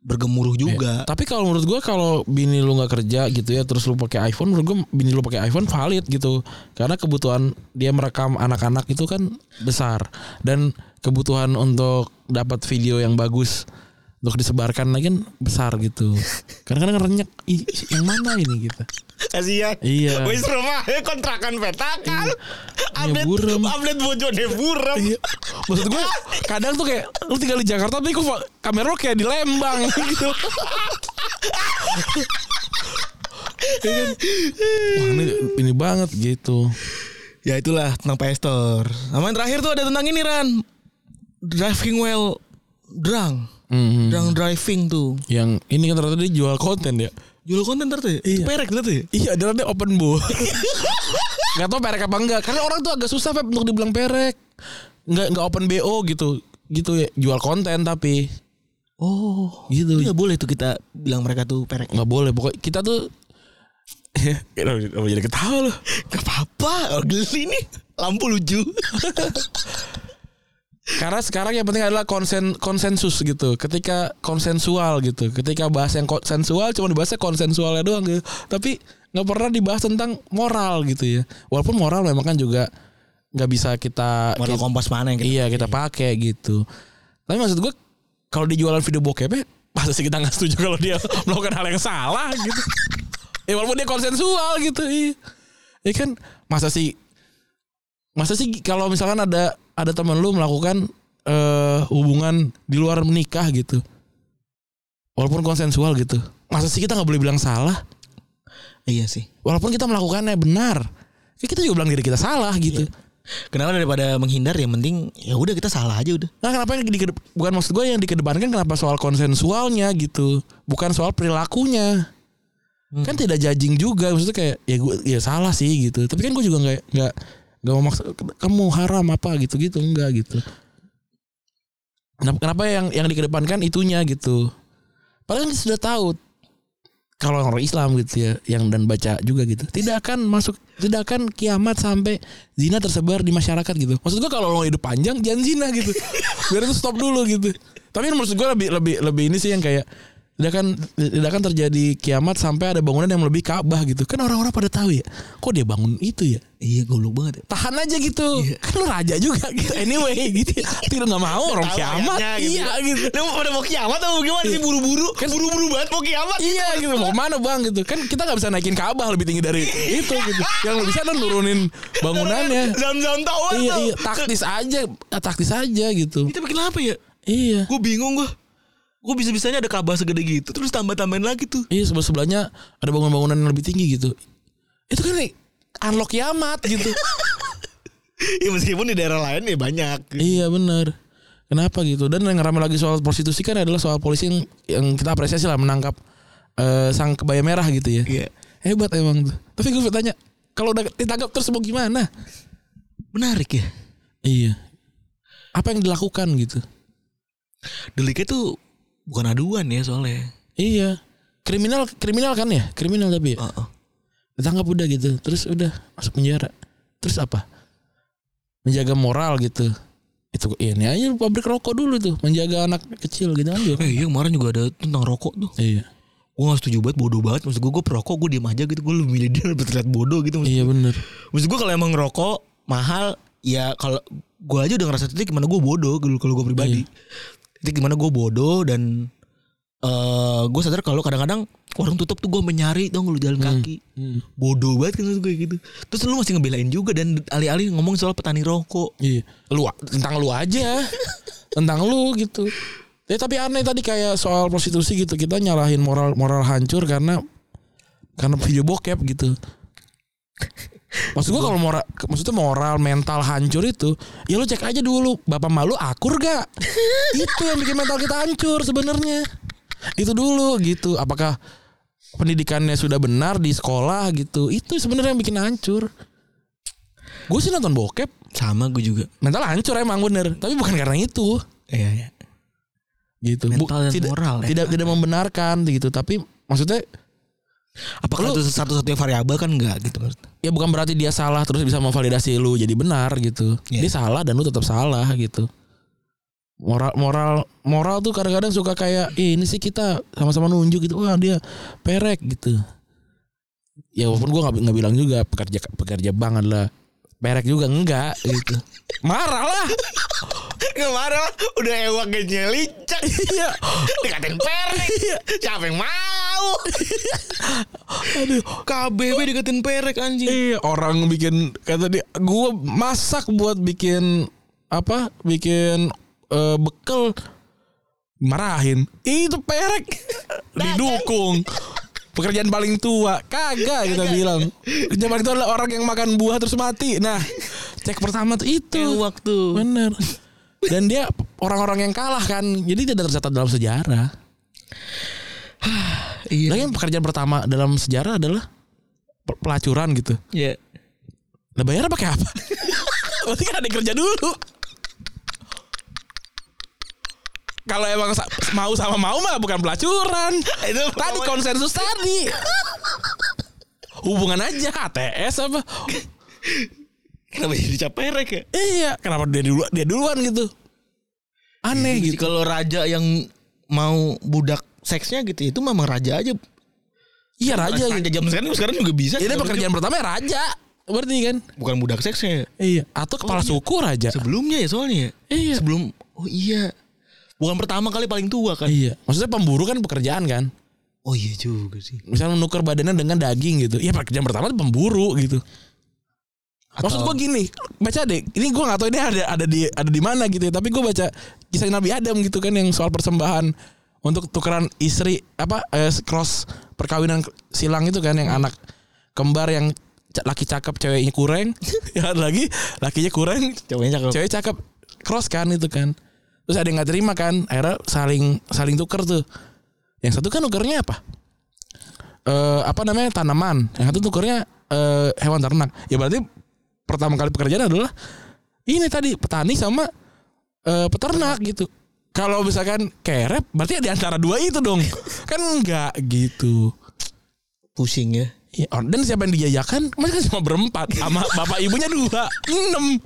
S4: bergemuruh juga.
S3: Tapi kalau menurut gua kalau bini lu nggak kerja gitu ya terus lu pakai iPhone menurut gua bini lu pakai iPhone valid gitu. Karena kebutuhan dia merekam anak-anak itu kan besar dan kebutuhan untuk dapat video yang bagus untuk disebarkan lagi kan besar gitu. Karena kadang renyek "Ih, yang mana ini gitu.
S4: Kasihan.
S3: Iya.
S4: Wis rumahnya kontrakan
S2: Iya.
S4: petakan.
S2: Ya,
S4: Update
S3: buram.
S4: update bojone buram.
S3: Iya. Maksud gue kadang tuh kayak lu tinggal di Jakarta tapi kok fa- kamera lu kayak di Lembang gitu. Iya kan? Wah, ini, ini banget gitu.
S4: Ya itulah tentang PS Store. Sama yang terakhir tuh ada tentang ini Ran. Driving well drunk.
S3: Mhm.
S4: Drunk driving tuh.
S3: Yang ini kan ternyata dia jual konten ya.
S4: Jual konten ntar tuh. ya? Itu Perek ntar tuh. ya?
S3: Iya, ada dia open book. Gak tau perek apa enggak. Karena orang tuh agak susah Feb, untuk dibilang perek. Enggak enggak open BO gitu. Gitu ya, jual konten tapi
S4: Oh.
S3: gitu.
S4: Iya boleh tuh kita bilang mereka tuh perek.
S3: Nggak boleh pokoknya kita tuh Kenapa jadi ketawa loh
S4: Gak apa-apa. Oh, geli nih. Lampu lucu.
S3: Karena sekarang yang penting adalah konsen konsensus gitu. Ketika konsensual gitu. Ketika bahas yang konsensual cuma dibahasnya konsensualnya doang gitu. Tapi nggak pernah dibahas tentang moral gitu ya. Walaupun moral memang kan juga nggak bisa kita,
S4: Modal
S3: kita-
S4: kompas mana yang kita?
S3: iya kita pakai gitu. Tapi maksud gue kalau dijualan video bokepnya pasti kita nggak setuju kalau dia melakukan hal yang salah gitu. Ya walaupun dia konsensual gitu. Iya. Ya kan masa sih masa sih kalau misalkan ada ada teman lu melakukan eh hubungan di luar menikah gitu. Walaupun konsensual gitu. Masa sih kita nggak boleh bilang salah?
S4: Iya sih.
S3: Walaupun kita melakukannya benar. Ya kita juga bilang diri kita salah gitu.
S4: Kenapa daripada menghindar yang penting ya udah kita salah aja udah.
S3: Nah kenapa yang dikede- bukan maksud gue yang dikedepankan kenapa soal konsensualnya gitu, bukan soal perilakunya. Kan tidak judging juga maksudnya kayak ya gue ya salah sih gitu. Tapi kan gue juga nggak nggak nggak mau maksa kamu haram apa gitu gitu enggak gitu. Kenapa, kenapa yang yang dikedepankan itunya gitu? Padahal kan sudah tahu kalau orang Islam gitu ya yang dan baca juga gitu tidak akan masuk tidak akan kiamat sampai zina tersebar di masyarakat gitu maksud gua kalau lo hidup panjang jangan zina gitu biar itu stop dulu gitu tapi yang maksud gua lebih lebih lebih ini sih yang kayak tidak akan tidak akan terjadi kiamat sampai ada bangunan yang lebih Ka'bah gitu kan orang-orang pada tahu ya kok dia bangun itu ya
S4: Iya goblok banget. ya.
S3: tahan aja gitu kan lu raja juga gitu anyway gitu tidak nggak mau orang
S4: Tahu
S3: kiamat
S4: ayatnya ya.
S3: iya gitu
S4: Lu pada mau kiamat atau gimana sih buru-buru?
S2: Iya. Kan-
S4: Buru-buru banget mau kiamat.
S3: Iya gitu mau mana bang gitu kan kita nggak bisa naikin Ka'bah lebih tinggi dari itu gitu yang bisa kan nurunin bangunannya
S4: Zam-zam tawar
S3: iya
S4: tuh.
S3: iya taktis aja ah, taktis aja gitu
S4: Tapi kenapa ya?
S3: iya
S4: Gue bingung gue. Gue bisa-bisanya ada kabar segede gitu terus tambah-tambahin lagi tuh.
S3: iya sebelah sebelahnya ada bangunan-bangunan yang lebih tinggi gitu itu kan nih, unlock kiamat gitu
S4: Ya meskipun di daerah lain ya banyak.
S3: iya benar kenapa gitu dan yang ramai lagi soal prostitusi kan adalah soal polisi yang, yang kita apresiasi lah menangkap eh, sang kebaya merah gitu ya
S4: Iya.
S3: hebat emang tuh tapi gue tanya kalau udah ditangkap terus mau gimana
S4: Menarik ya.
S3: Iya. Apa yang dilakukan gitu?
S4: Deliknya tuh bukan aduan ya soalnya.
S3: Iya. Kriminal kriminal kan ya? Kriminal tapi ya.
S4: Heeh.
S3: Ditangkap udah gitu. Terus udah masuk penjara. Terus apa? Menjaga moral gitu. Itu ini aja pabrik rokok dulu tuh, menjaga anak kecil gitu aja.
S4: Eh iya kemarin juga ada tentang rokok tuh.
S3: Iya.
S4: Gue gak setuju banget bodoh banget. Maksud gue gue perokok gue diem aja gitu. Gue lebih milih dia lebih terlihat bodoh gitu. Maksud,
S3: Iya bener
S4: maksud gue kalau emang ngerokok mahal ya kalau gue aja udah ngerasa titik gimana gue bodoh gitu kalau gue pribadi. Titik gimana gue bodoh dan eh gue sadar kalau kadang-kadang warung tutup tuh gue menyari dong lu jalan kaki.
S3: Hmm.
S4: Bodoh banget kan maksud gue gitu. Terus lu masih ngebelain juga dan alih-alih ngomong soal petani rokok.
S3: Iya. Lu tentang lu aja. tentang lu gitu. Ya, tapi aneh tadi kayak soal prostitusi gitu kita nyalahin moral moral hancur karena karena video bokep gitu. Maksud gua kalau moral maksudnya moral mental hancur itu ya lu cek aja dulu bapak malu akur gak? itu yang bikin mental kita hancur sebenarnya. Itu dulu gitu. Apakah pendidikannya sudah benar di sekolah gitu. Itu sebenarnya yang bikin hancur. Gue sih nonton bokep
S4: Sama gue juga.
S3: mental hancur emang bener tapi bukan karena itu
S4: Iya, iya.
S3: gitu. Bu-
S4: Mental dan
S3: tidak,
S4: moral ya.
S3: tidak tidak membenarkan gitu, tapi maksudnya
S4: Apakah itu satu-satunya variabel kan enggak gitu maksudnya.
S3: ya bukan berarti dia salah terus bisa memvalidasi lu jadi benar gitu.
S4: Iya.
S3: Dia salah dan lu tetap salah gitu. Moral moral moral tuh kadang-kadang suka kayak "Ih, ini sih kita sama-sama nunjuk gitu. Wah, dia perek gitu. Ya walaupun gua nggak nggak bilang juga pekerja pekerja bank adalah perek juga enggak gitu. Marah lah.
S2: Kemarin udah ewak gajinya licak.
S3: Iya.
S2: Dikatain perek. Siapa yang mau? Aduh, KBB dikatain perek anjing.
S3: Iya, orang bikin kata dia gua masak buat bikin apa? Bikin eh, bekel marahin. "Ih, Itu perek. Didukung. Pekerjaan paling tua. Kagak kita bilang. Pekerjaan paling tua adalah orang yang makan buah terus mati. Nah, cek pertama tuh itu.
S2: Ewak tuh.
S3: Bener. Dan dia orang-orang yang kalah kan. Jadi tidak tercatat dalam sejarah.
S2: Iya.
S3: Lagi pekerjaan pertama dalam sejarah adalah pe- pelacuran gitu.
S2: Iya.
S3: Lah bayar pakai apa? Berarti kan ada yang kerja dulu. Kalau emang sa- mau sama mau mah bukan pelacuran. Itu tadi konsensus tadi. Hubungan aja HTS apa?
S2: Kenapa jadi cap perek ya?
S3: Iya, kenapa dia duluan, dia duluan gitu? Aneh gitu.
S4: Kalau raja yang mau budak seksnya gitu itu memang raja aja.
S3: Iya raja gitu.
S2: Raja jam sekarang sekarang juga
S4: Iya,
S2: bisa.
S3: Ini pekerjaan pertama ya raja. Berarti kan?
S4: gitu. Bukan budak seksnya.
S3: Iya, atau kepala suku raja.
S4: Sebelumnya ya soalnya. ya.
S3: Iya.
S4: Sebelum oh iya. Bukan pertama kali paling tua kan.
S3: Iya. Maksudnya pemburu kan pekerjaan kan?
S4: Oh iya juga sih.
S3: misalnya menukar badannya dengan daging gitu. Ya pekerjaan pertama itu pemburu gitu. Maksud
S4: Atau-
S3: gue gini, baca deh. Ini gue gak tahu ini ada ada di ada di mana gitu ya. Tapi gue baca kisah Nabi Adam gitu kan yang soal persembahan untuk tukeran istri apa eh, cross perkawinan silang itu kan yang anak kembar yang ca- laki cakep ceweknya kurang ya ada lagi lakinya kurang
S4: Ceweknya cakep.
S3: cewek cakep cross kan itu kan terus ada yang nggak terima kan akhirnya saling saling tuker tuh yang satu kan tukernya apa Eh apa namanya tanaman yang satu tukernya eh hewan ternak ya berarti pertama kali pekerjaan adalah ini tadi petani sama eh peternak gitu kalau misalkan kerep berarti di antara dua itu dong kan enggak gitu
S4: Pusing ya.
S3: Ya, or- dan siapa yang dijajakan? Mereka cuma berempat sama bapak ibunya dua, enam.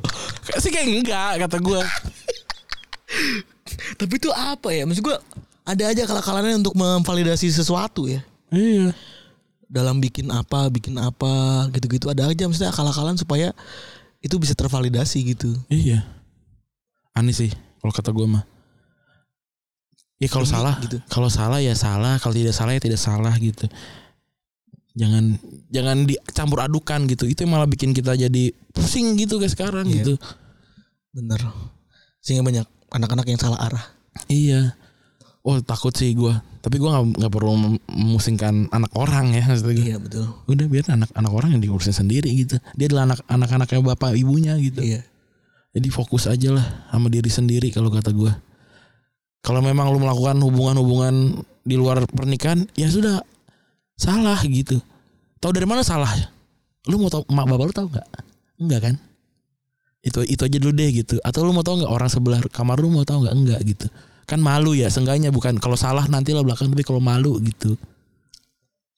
S3: Sih kayak enggak kata gua.
S4: Tapi itu apa ya? Maksud gua ada aja kalakalannya untuk memvalidasi sesuatu ya.
S3: Iya.
S4: Dalam bikin apa, bikin apa, gitu-gitu ada aja maksudnya akal-akalan supaya itu bisa tervalidasi gitu.
S3: Iya. Aneh sih kalau kata gua mah. Ya kalau salah,
S4: gitu.
S3: kalau salah ya salah, kalau tidak salah ya tidak salah gitu. Jangan jangan dicampur adukan gitu. Itu yang malah bikin kita jadi pusing gitu guys sekarang
S4: Iya.
S3: gitu.
S4: Bener. Sehingga banyak anak-anak yang salah arah.
S3: Iya. Oh takut sih gua. Tapi gua nggak nggak perlu mem- memusingkan anak orang ya maksud gua.
S4: Iya betul.
S3: udah biar anak-anak orang yang diurusin sendiri gitu dia adalah anak anak-anaknya bapak ibunya gitu
S4: Iya.
S3: jadi fokus aja lah sama diri sendiri kalau kata gua kalau memang lu melakukan hubungan-hubungan di luar pernikahan ya sudah salah gitu tahu dari mana salah lu mau tau mak bapak lu tahu nggak enggak kan itu itu aja dulu deh gitu atau lu mau tahu nggak orang sebelah kamar lu mau tahu nggak enggak gitu kan malu ya seenggaknya bukan kalau salah nanti lah belakang tapi kalau malu gitu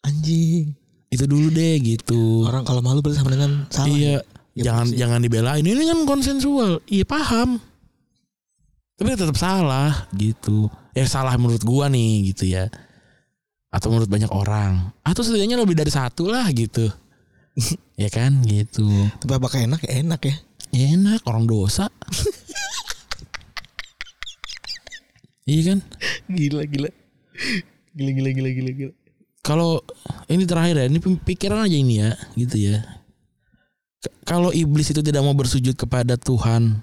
S4: Anjing.
S3: itu dulu deh gitu
S4: Orang kalau malu berarti sama dengan salah.
S3: Iya.
S4: Ya,
S3: jangan
S4: bener sih.
S3: jangan dibelain. Ini kan konsensual. Iya paham. Tapi tetap salah gitu. Ya salah menurut gua nih gitu ya. Atau menurut banyak orang. Atau setidaknya lebih dari satu lah gitu. ya kan gitu.
S4: Tapi apakah enak ya enak ya.
S3: Ya enak orang dosa. iya kan?
S2: Gila gila. Gila gila gila gila gila.
S3: kalau ini terakhir ya, ini pikiran aja ini ya, gitu ya. K- Kalau iblis itu tidak mau bersujud kepada Tuhan,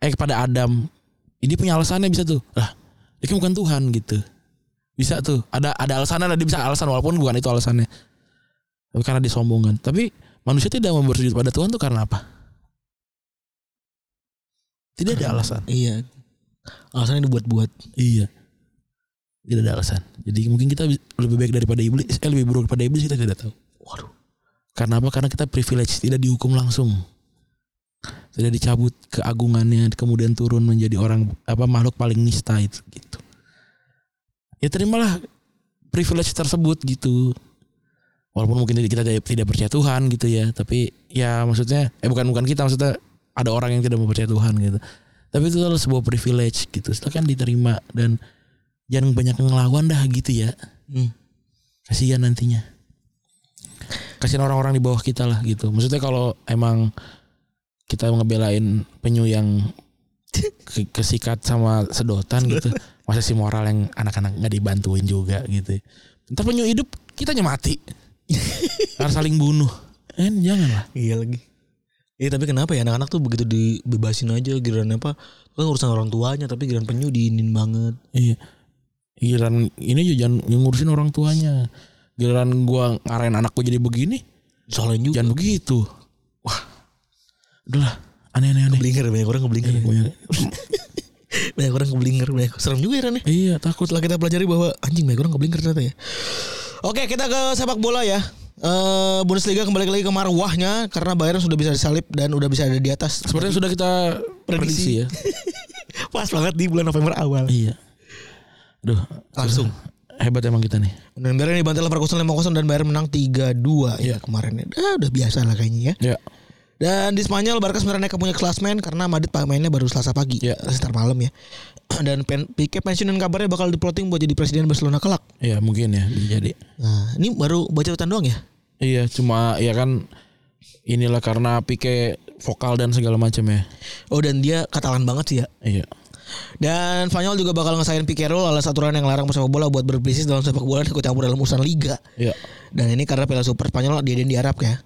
S3: eh kepada Adam, ini punya alasannya bisa tuh. Lah, dia kan bukan Tuhan gitu. Bisa tuh. Ada ada alasannya, ada bisa alasan walaupun bukan itu alasannya. Tapi karena dia sombong kan. Tapi manusia tidak mau bersujud pada Tuhan tuh karena apa? Tidak ada alasan.
S4: Iya. Alasannya dibuat-buat.
S3: Iya. Tidak ada alasan. Jadi mungkin kita bi- lebih baik daripada iblis, eh, lebih buruk daripada iblis kita tidak tahu. Waduh. Karena apa? Karena kita privilege, tidak dihukum langsung. Tidak dicabut keagungannya, kemudian turun menjadi orang apa makhluk paling nista itu gitu. ya terimalah privilege tersebut gitu walaupun mungkin kita tidak tidak percaya Tuhan gitu ya tapi ya maksudnya eh bukan bukan kita maksudnya ada orang yang tidak mempercaya Tuhan gitu tapi itu adalah sebuah privilege gitu silakan diterima dan jangan banyak ngelawan dah gitu ya
S4: Hmm.
S3: kasihan nantinya kasihan orang-orang di bawah kita lah gitu maksudnya kalau emang kita ngebelain penyu yang ke- kesikat sama sedotan gitu masa si moral yang anak-anak nggak dibantuin juga gitu ntar penyu hidup kita mati harus saling bunuh kan jangan lah
S4: Iya lagi. Iya tapi kenapa ya anak-anak tuh begitu dibebasin aja giliran apa kan urusan orang tuanya tapi giliran penyu diinin banget.
S3: iya giliran ini juga jangan yang ngurusin orang tuanya giliran gua ngarahin anakku jadi begini
S4: Soalnya juga
S3: jangan begitu wah udahlah aneh-aneh aneh.
S4: keblinger banyak orang keblinger.
S3: Iya.
S4: banyak orang keblinger banyak serem juga ya Ran, ya.
S3: Iya takut
S4: Setelah kita pelajari bahwa anjing banyak orang keblinger ternyata ya. Oke, kita ke sepak bola ya. Eh Bundesliga kembali lagi ke marwahnya karena Bayern sudah bisa disalip dan udah bisa ada di atas.
S3: Sepertinya sudah kita prediksi ya.
S4: Pas banget di bulan November awal.
S3: iya. Duh,
S4: Langsung.
S3: hebat emang kita nih.
S4: Dan Bayern dibantai Leverkusen 5-0 dan Bayern menang 3-2 ya kemarin. ya. Ah, udah biasa lah kayaknya ya.
S3: Ya.
S4: Dan di Spanyol Barca sebenarnya naik ke punya klasmen karena Madrid mainnya baru Selasa pagi,
S3: Iya.
S4: sekitar malam ya. Dan Pen Pique pensiun dan kabarnya bakal diploting buat jadi presiden Barcelona kelak.
S3: Ya mungkin ya jadi.
S4: Nah, ini baru baca catatan doang ya?
S3: Iya, cuma ya kan inilah karena Pique vokal dan segala macam ya.
S4: Oh dan dia Katalan banget sih ya.
S3: Iya.
S4: Dan Spanyol juga bakal ngesain Pique Rule ala aturan yang larang sepak bola buat berbisnis dalam sepak bola dan ikut campur dalam urusan liga.
S3: Iya.
S4: Dan ini karena Piala Super Spanyol diadain di Arab ya.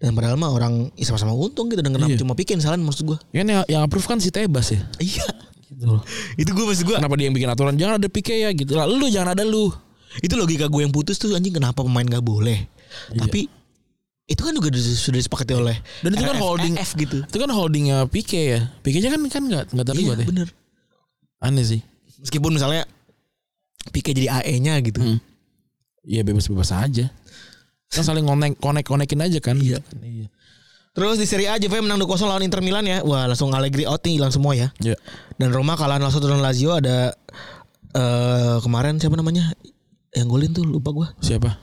S4: Dan padahal mah orang ya sama-sama untung gitu dan kenapa
S3: Iya.
S4: cuma Pique yang salah maksud gua.
S3: Ya kan yang, yang approve kan si Tebas ya.
S4: Iya.
S3: Gitu loh.
S4: Itu gue maksud gue
S3: Kenapa dia yang bikin aturan jangan ada Pique ya gitu lah. Lu jangan ada lu.
S4: Itu logika gue yang putus tuh anjing kenapa pemain gak boleh
S3: Iya.
S4: Tapi Itu kan juga dis- sudah disepakati oleh
S3: Dan itu kan
S4: RF
S3: holding-
S4: RF gitu Iya,
S3: Itu kan holdingnya Pique ya. Pique-nya kan kan nggak nggak terlibat ya.
S4: bener
S3: Aneh sih.
S4: Meskipun misalnya Pique jadi AE nya gitu
S3: Hmm. Iya bebas-bebas aja. Kan saling konek konek konekin aja kan. Iya. Iya.
S4: Terus di Serie A Juve menang 2-0 lawan Inter Milan ya Wah langsung Allegri out nih hilang semua ya
S3: Iya.
S4: Dan Roma kalah 0-1 dengan Lazio ada eh Kemarin siapa namanya Yang golin tuh lupa gue
S3: Siapa?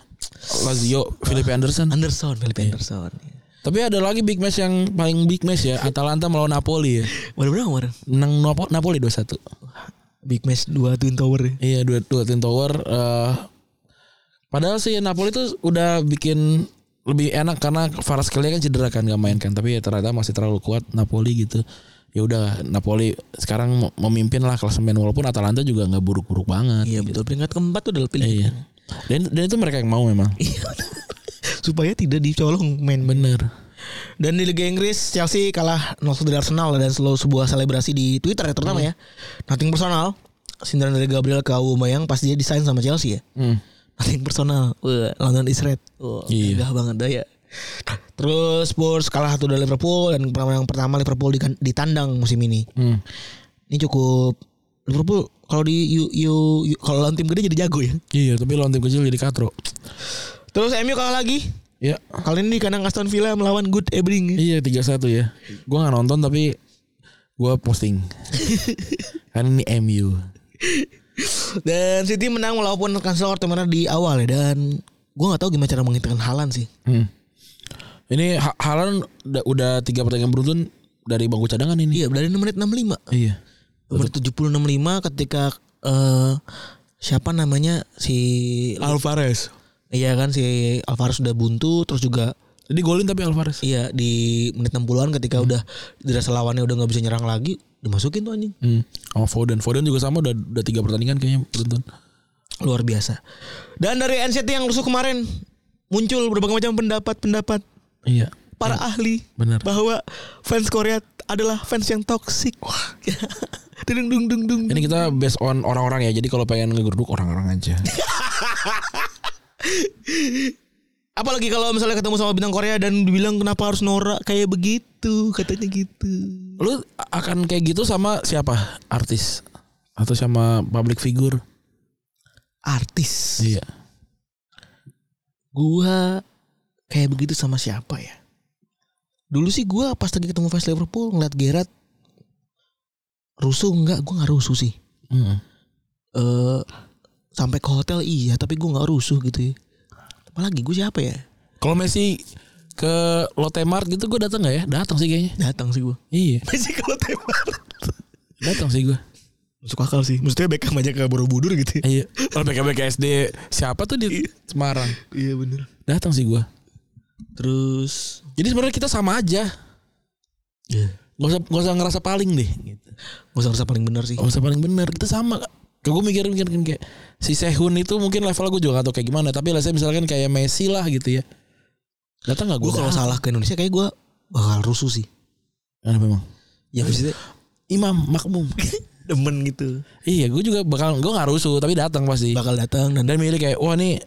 S3: Lazio, Felipe Anderson.
S4: Anderson Felipe Anderson iya.
S3: Tapi ada lagi big match yang paling big match ya, Atalanta melawan Napoli ya.
S4: Waduh berapa kemarin
S3: Menang Napo- Napoli 2-1.
S4: Big match 2 Twin Tower ya
S3: Iya, dua dua Twin Tower eh, padahal sih Napoli tuh udah bikin lebih enak karena Kvaratskhelia kan cedera kan gak main kan, tapi ya ternyata masih terlalu kuat Napoli gitu. Ya udah Napoli sekarang mem- memimpin lah klasemen walaupun Atalanta juga nggak buruk-buruk banget.
S4: Iya betul peringkat keempat tuh udah
S3: Eh,
S4: pilih
S3: Iya. Dan, dan itu mereka yang mau memang.
S4: Supaya tidak dicolong main
S3: Bener.
S4: Dan di Liga Inggris Chelsea kalah 0-1 dari Arsenal dan selalu sebuah selebrasi di Twitter ya terutama ya. Nothing personal. Sindiran dari Gabriel ke Aubameyang pas dia desain sama Chelsea ya.
S3: Hmm.
S4: Nothing personal. Wah, London is red. Wah,
S3: Iya.
S4: megah banget dah ya. Terus Spurs kalah satu dari Liverpool dan pemenang pertama Liverpool di, ditandang musim ini.
S3: Hmm.
S4: Ini cukup Liverpool kalau di you, you- you- kalau lawan tim gede jadi jago ya.
S3: Iya, tapi lawan tim kecil jadi katro.
S4: Terus MU kalah lagi.
S3: Ya,
S4: Kali ini di kandang Aston Villa melawan Good Ebring.
S3: iya 3-1 ya. Gua nggak nonton tapi gua posting. Karena ini MU.
S4: Dan City menang walaupun Cancelo kartu merah di awal ya dan gua nggak tahu gimana cara menghitungkan halan sih.
S3: Hmm. Ini Ha- Haaland udah, udah 3 pertandingan beruntun dari bangku cadangan
S4: Iya,
S3: ini.
S4: dari menit 65.
S3: Iya.
S4: Menit 70 65 ketika eh, siapa namanya si
S3: Alvarez.
S4: Iya kan si Alvaro sudah buntu terus juga
S3: Jadi golin tapi Alvarez.
S4: iya di menit 60-an ketika udah dirasa lawannya udah nggak bisa nyerang lagi dimasukin tuh anjing.
S3: Hmm. Sama Foden. Foden juga sama udah udah 3 pertandingan kayaknya beruntun.
S4: Luar biasa. Dan dari NCT yang rusuh kemarin muncul berbagai macam pendapat-pendapat
S3: Iya.
S4: para ahli
S3: Bener.
S4: bahwa fans Korea adalah fans yang toksik. Wah. dung dung dung dung.
S3: Ini kita based on orang-orang ya. Jadi kalau pengen ngegerduk orang-orang aja.
S4: Apalagi kalau misalnya ketemu sama bintang Korea dan dibilang kenapa harus norak kayak begitu, katanya gitu.
S3: Lu a- akan kayak gitu sama siapa? Artis atau sama public figure?
S4: Artis.
S3: Iya.
S4: Gua kayak begitu sama siapa ya? Dulu sih gua pas lagi ketemu fans Liverpool ngeliat Gerrard rusuh enggak? Gua nggak rusuh sih.
S3: Hmm.
S4: Eh sampai ke hotel iya tapi gue nggak rusuh gitu ya apalagi gue siapa ya
S3: Kalau Messi ke Lotte Mart gitu gue datang nggak ya? Datang sih kayaknya.
S4: datang sih gue
S3: Iya,
S2: Messi kalau tembak.
S3: datang sih gue.
S4: masuk akal sih
S2: Maksudnya Beckham aja ke Borobudur gitu. ya.
S3: Iya. Kalau BKBK SD siapa tuh di Semarang?
S4: iya bener
S3: Datang sih gue.
S4: terus
S3: Jadi sebenarnya kita sama aja.
S4: Iya.
S3: Gak usah gak usah ngerasa paling deh. Gitu.
S4: gue usah paling benar sih
S3: Gak usah paling bener. Kita sama. Kayak gue mikir mikir kayak si Sehun itu mungkin levelnya gue juga gak tau kayak gimana. Tapi lah saya misalkan kayak Messi lah gitu ya. Datang gak
S4: gue
S3: gue?
S4: kalau salah ke Indonesia kayak gue bakal rusuh sih
S3: Kenapa emang?
S4: ya maksudnya
S3: Imam makmum.
S4: demen gitu
S3: iya, gue juga bakal gue nggak rusuh tapi datang pasti.
S4: bakal datang dan
S3: Dan milih kayak wah nih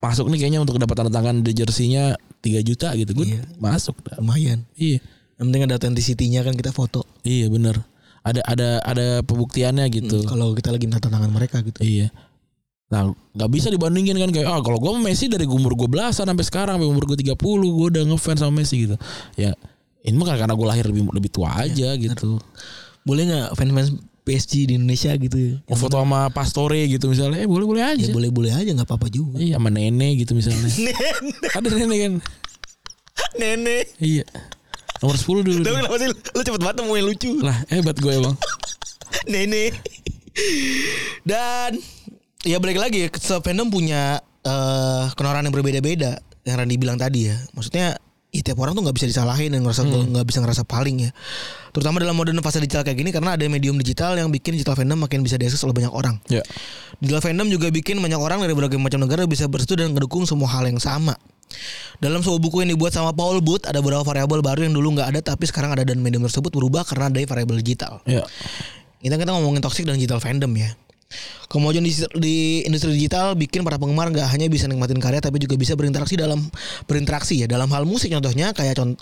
S3: masuk nih kayaknya untuk dapat tanda tangan di jersinya 3 juta gitu. Gue
S4: Iya.
S3: masuk.
S4: lumayan
S3: Iya.
S4: yang penting ada authenticity-nya kan kita foto
S3: Iya bener Ada ada ada pembuktiannya gitu.
S4: Hmm, kalau kita lagi minta tantangan mereka gitu
S3: Iya. Nah, nggak bisa dibandingin kan kayak ah kalau gua sama Messi dari umur gua belasan sampai sekarang sampai umur gua 30 gua udah ngefans sama Messi gitu. Ya ini mah karena gua lahir lebih lebih tua aja gitu.
S4: boleh nggak fans-fans PSG di Indonesia gitu ya?
S3: Mau foto sama Pastore gitu misalnya, eh boleh-boleh aja.
S4: ya boleh-boleh aja nggak apa-apa juga
S3: Iya sama nenek gitu misalnya. Ada nenek kan.
S2: Nenek.
S3: Iya. Nomor 10 dulu.
S2: Tapi kenapa sih lu- lu cepet banget nemuin lucu.
S3: lah, hebat gue emang.
S2: Nenek.
S4: dan ya balik lagi ya, setiap fandom punya eh kenoran yang berbeda-beda yang Randy bilang tadi ya maksudnya ya, tiap orang tuh nggak bisa disalahin dan ngerasa
S3: Hmm.
S4: nggak bisa ngerasa paling ya terutama dalam modern fase digital kayak gini karena ada medium digital yang bikin digital fandom makin bisa diakses oleh banyak orang
S3: Ya.
S4: Digital fandom juga bikin banyak orang dari berbagai macam negara bisa bersetuju dan mendukung semua hal yang sama. Dalam sebuah buku yang dibuat sama Paul Booth ada beberapa variabel baru yang dulu nggak ada tapi sekarang ada dan medium tersebut berubah karena ada variabel digital.
S3: Ya.
S4: Kita kita ngomongin toxic dan digital fandom ya. Kemajuan di, di industri digital bikin para penggemar nggak hanya bisa nikmatin karya tapi juga bisa berinteraksi dalam berinteraksi ya dalam hal musik contohnya kayak contoh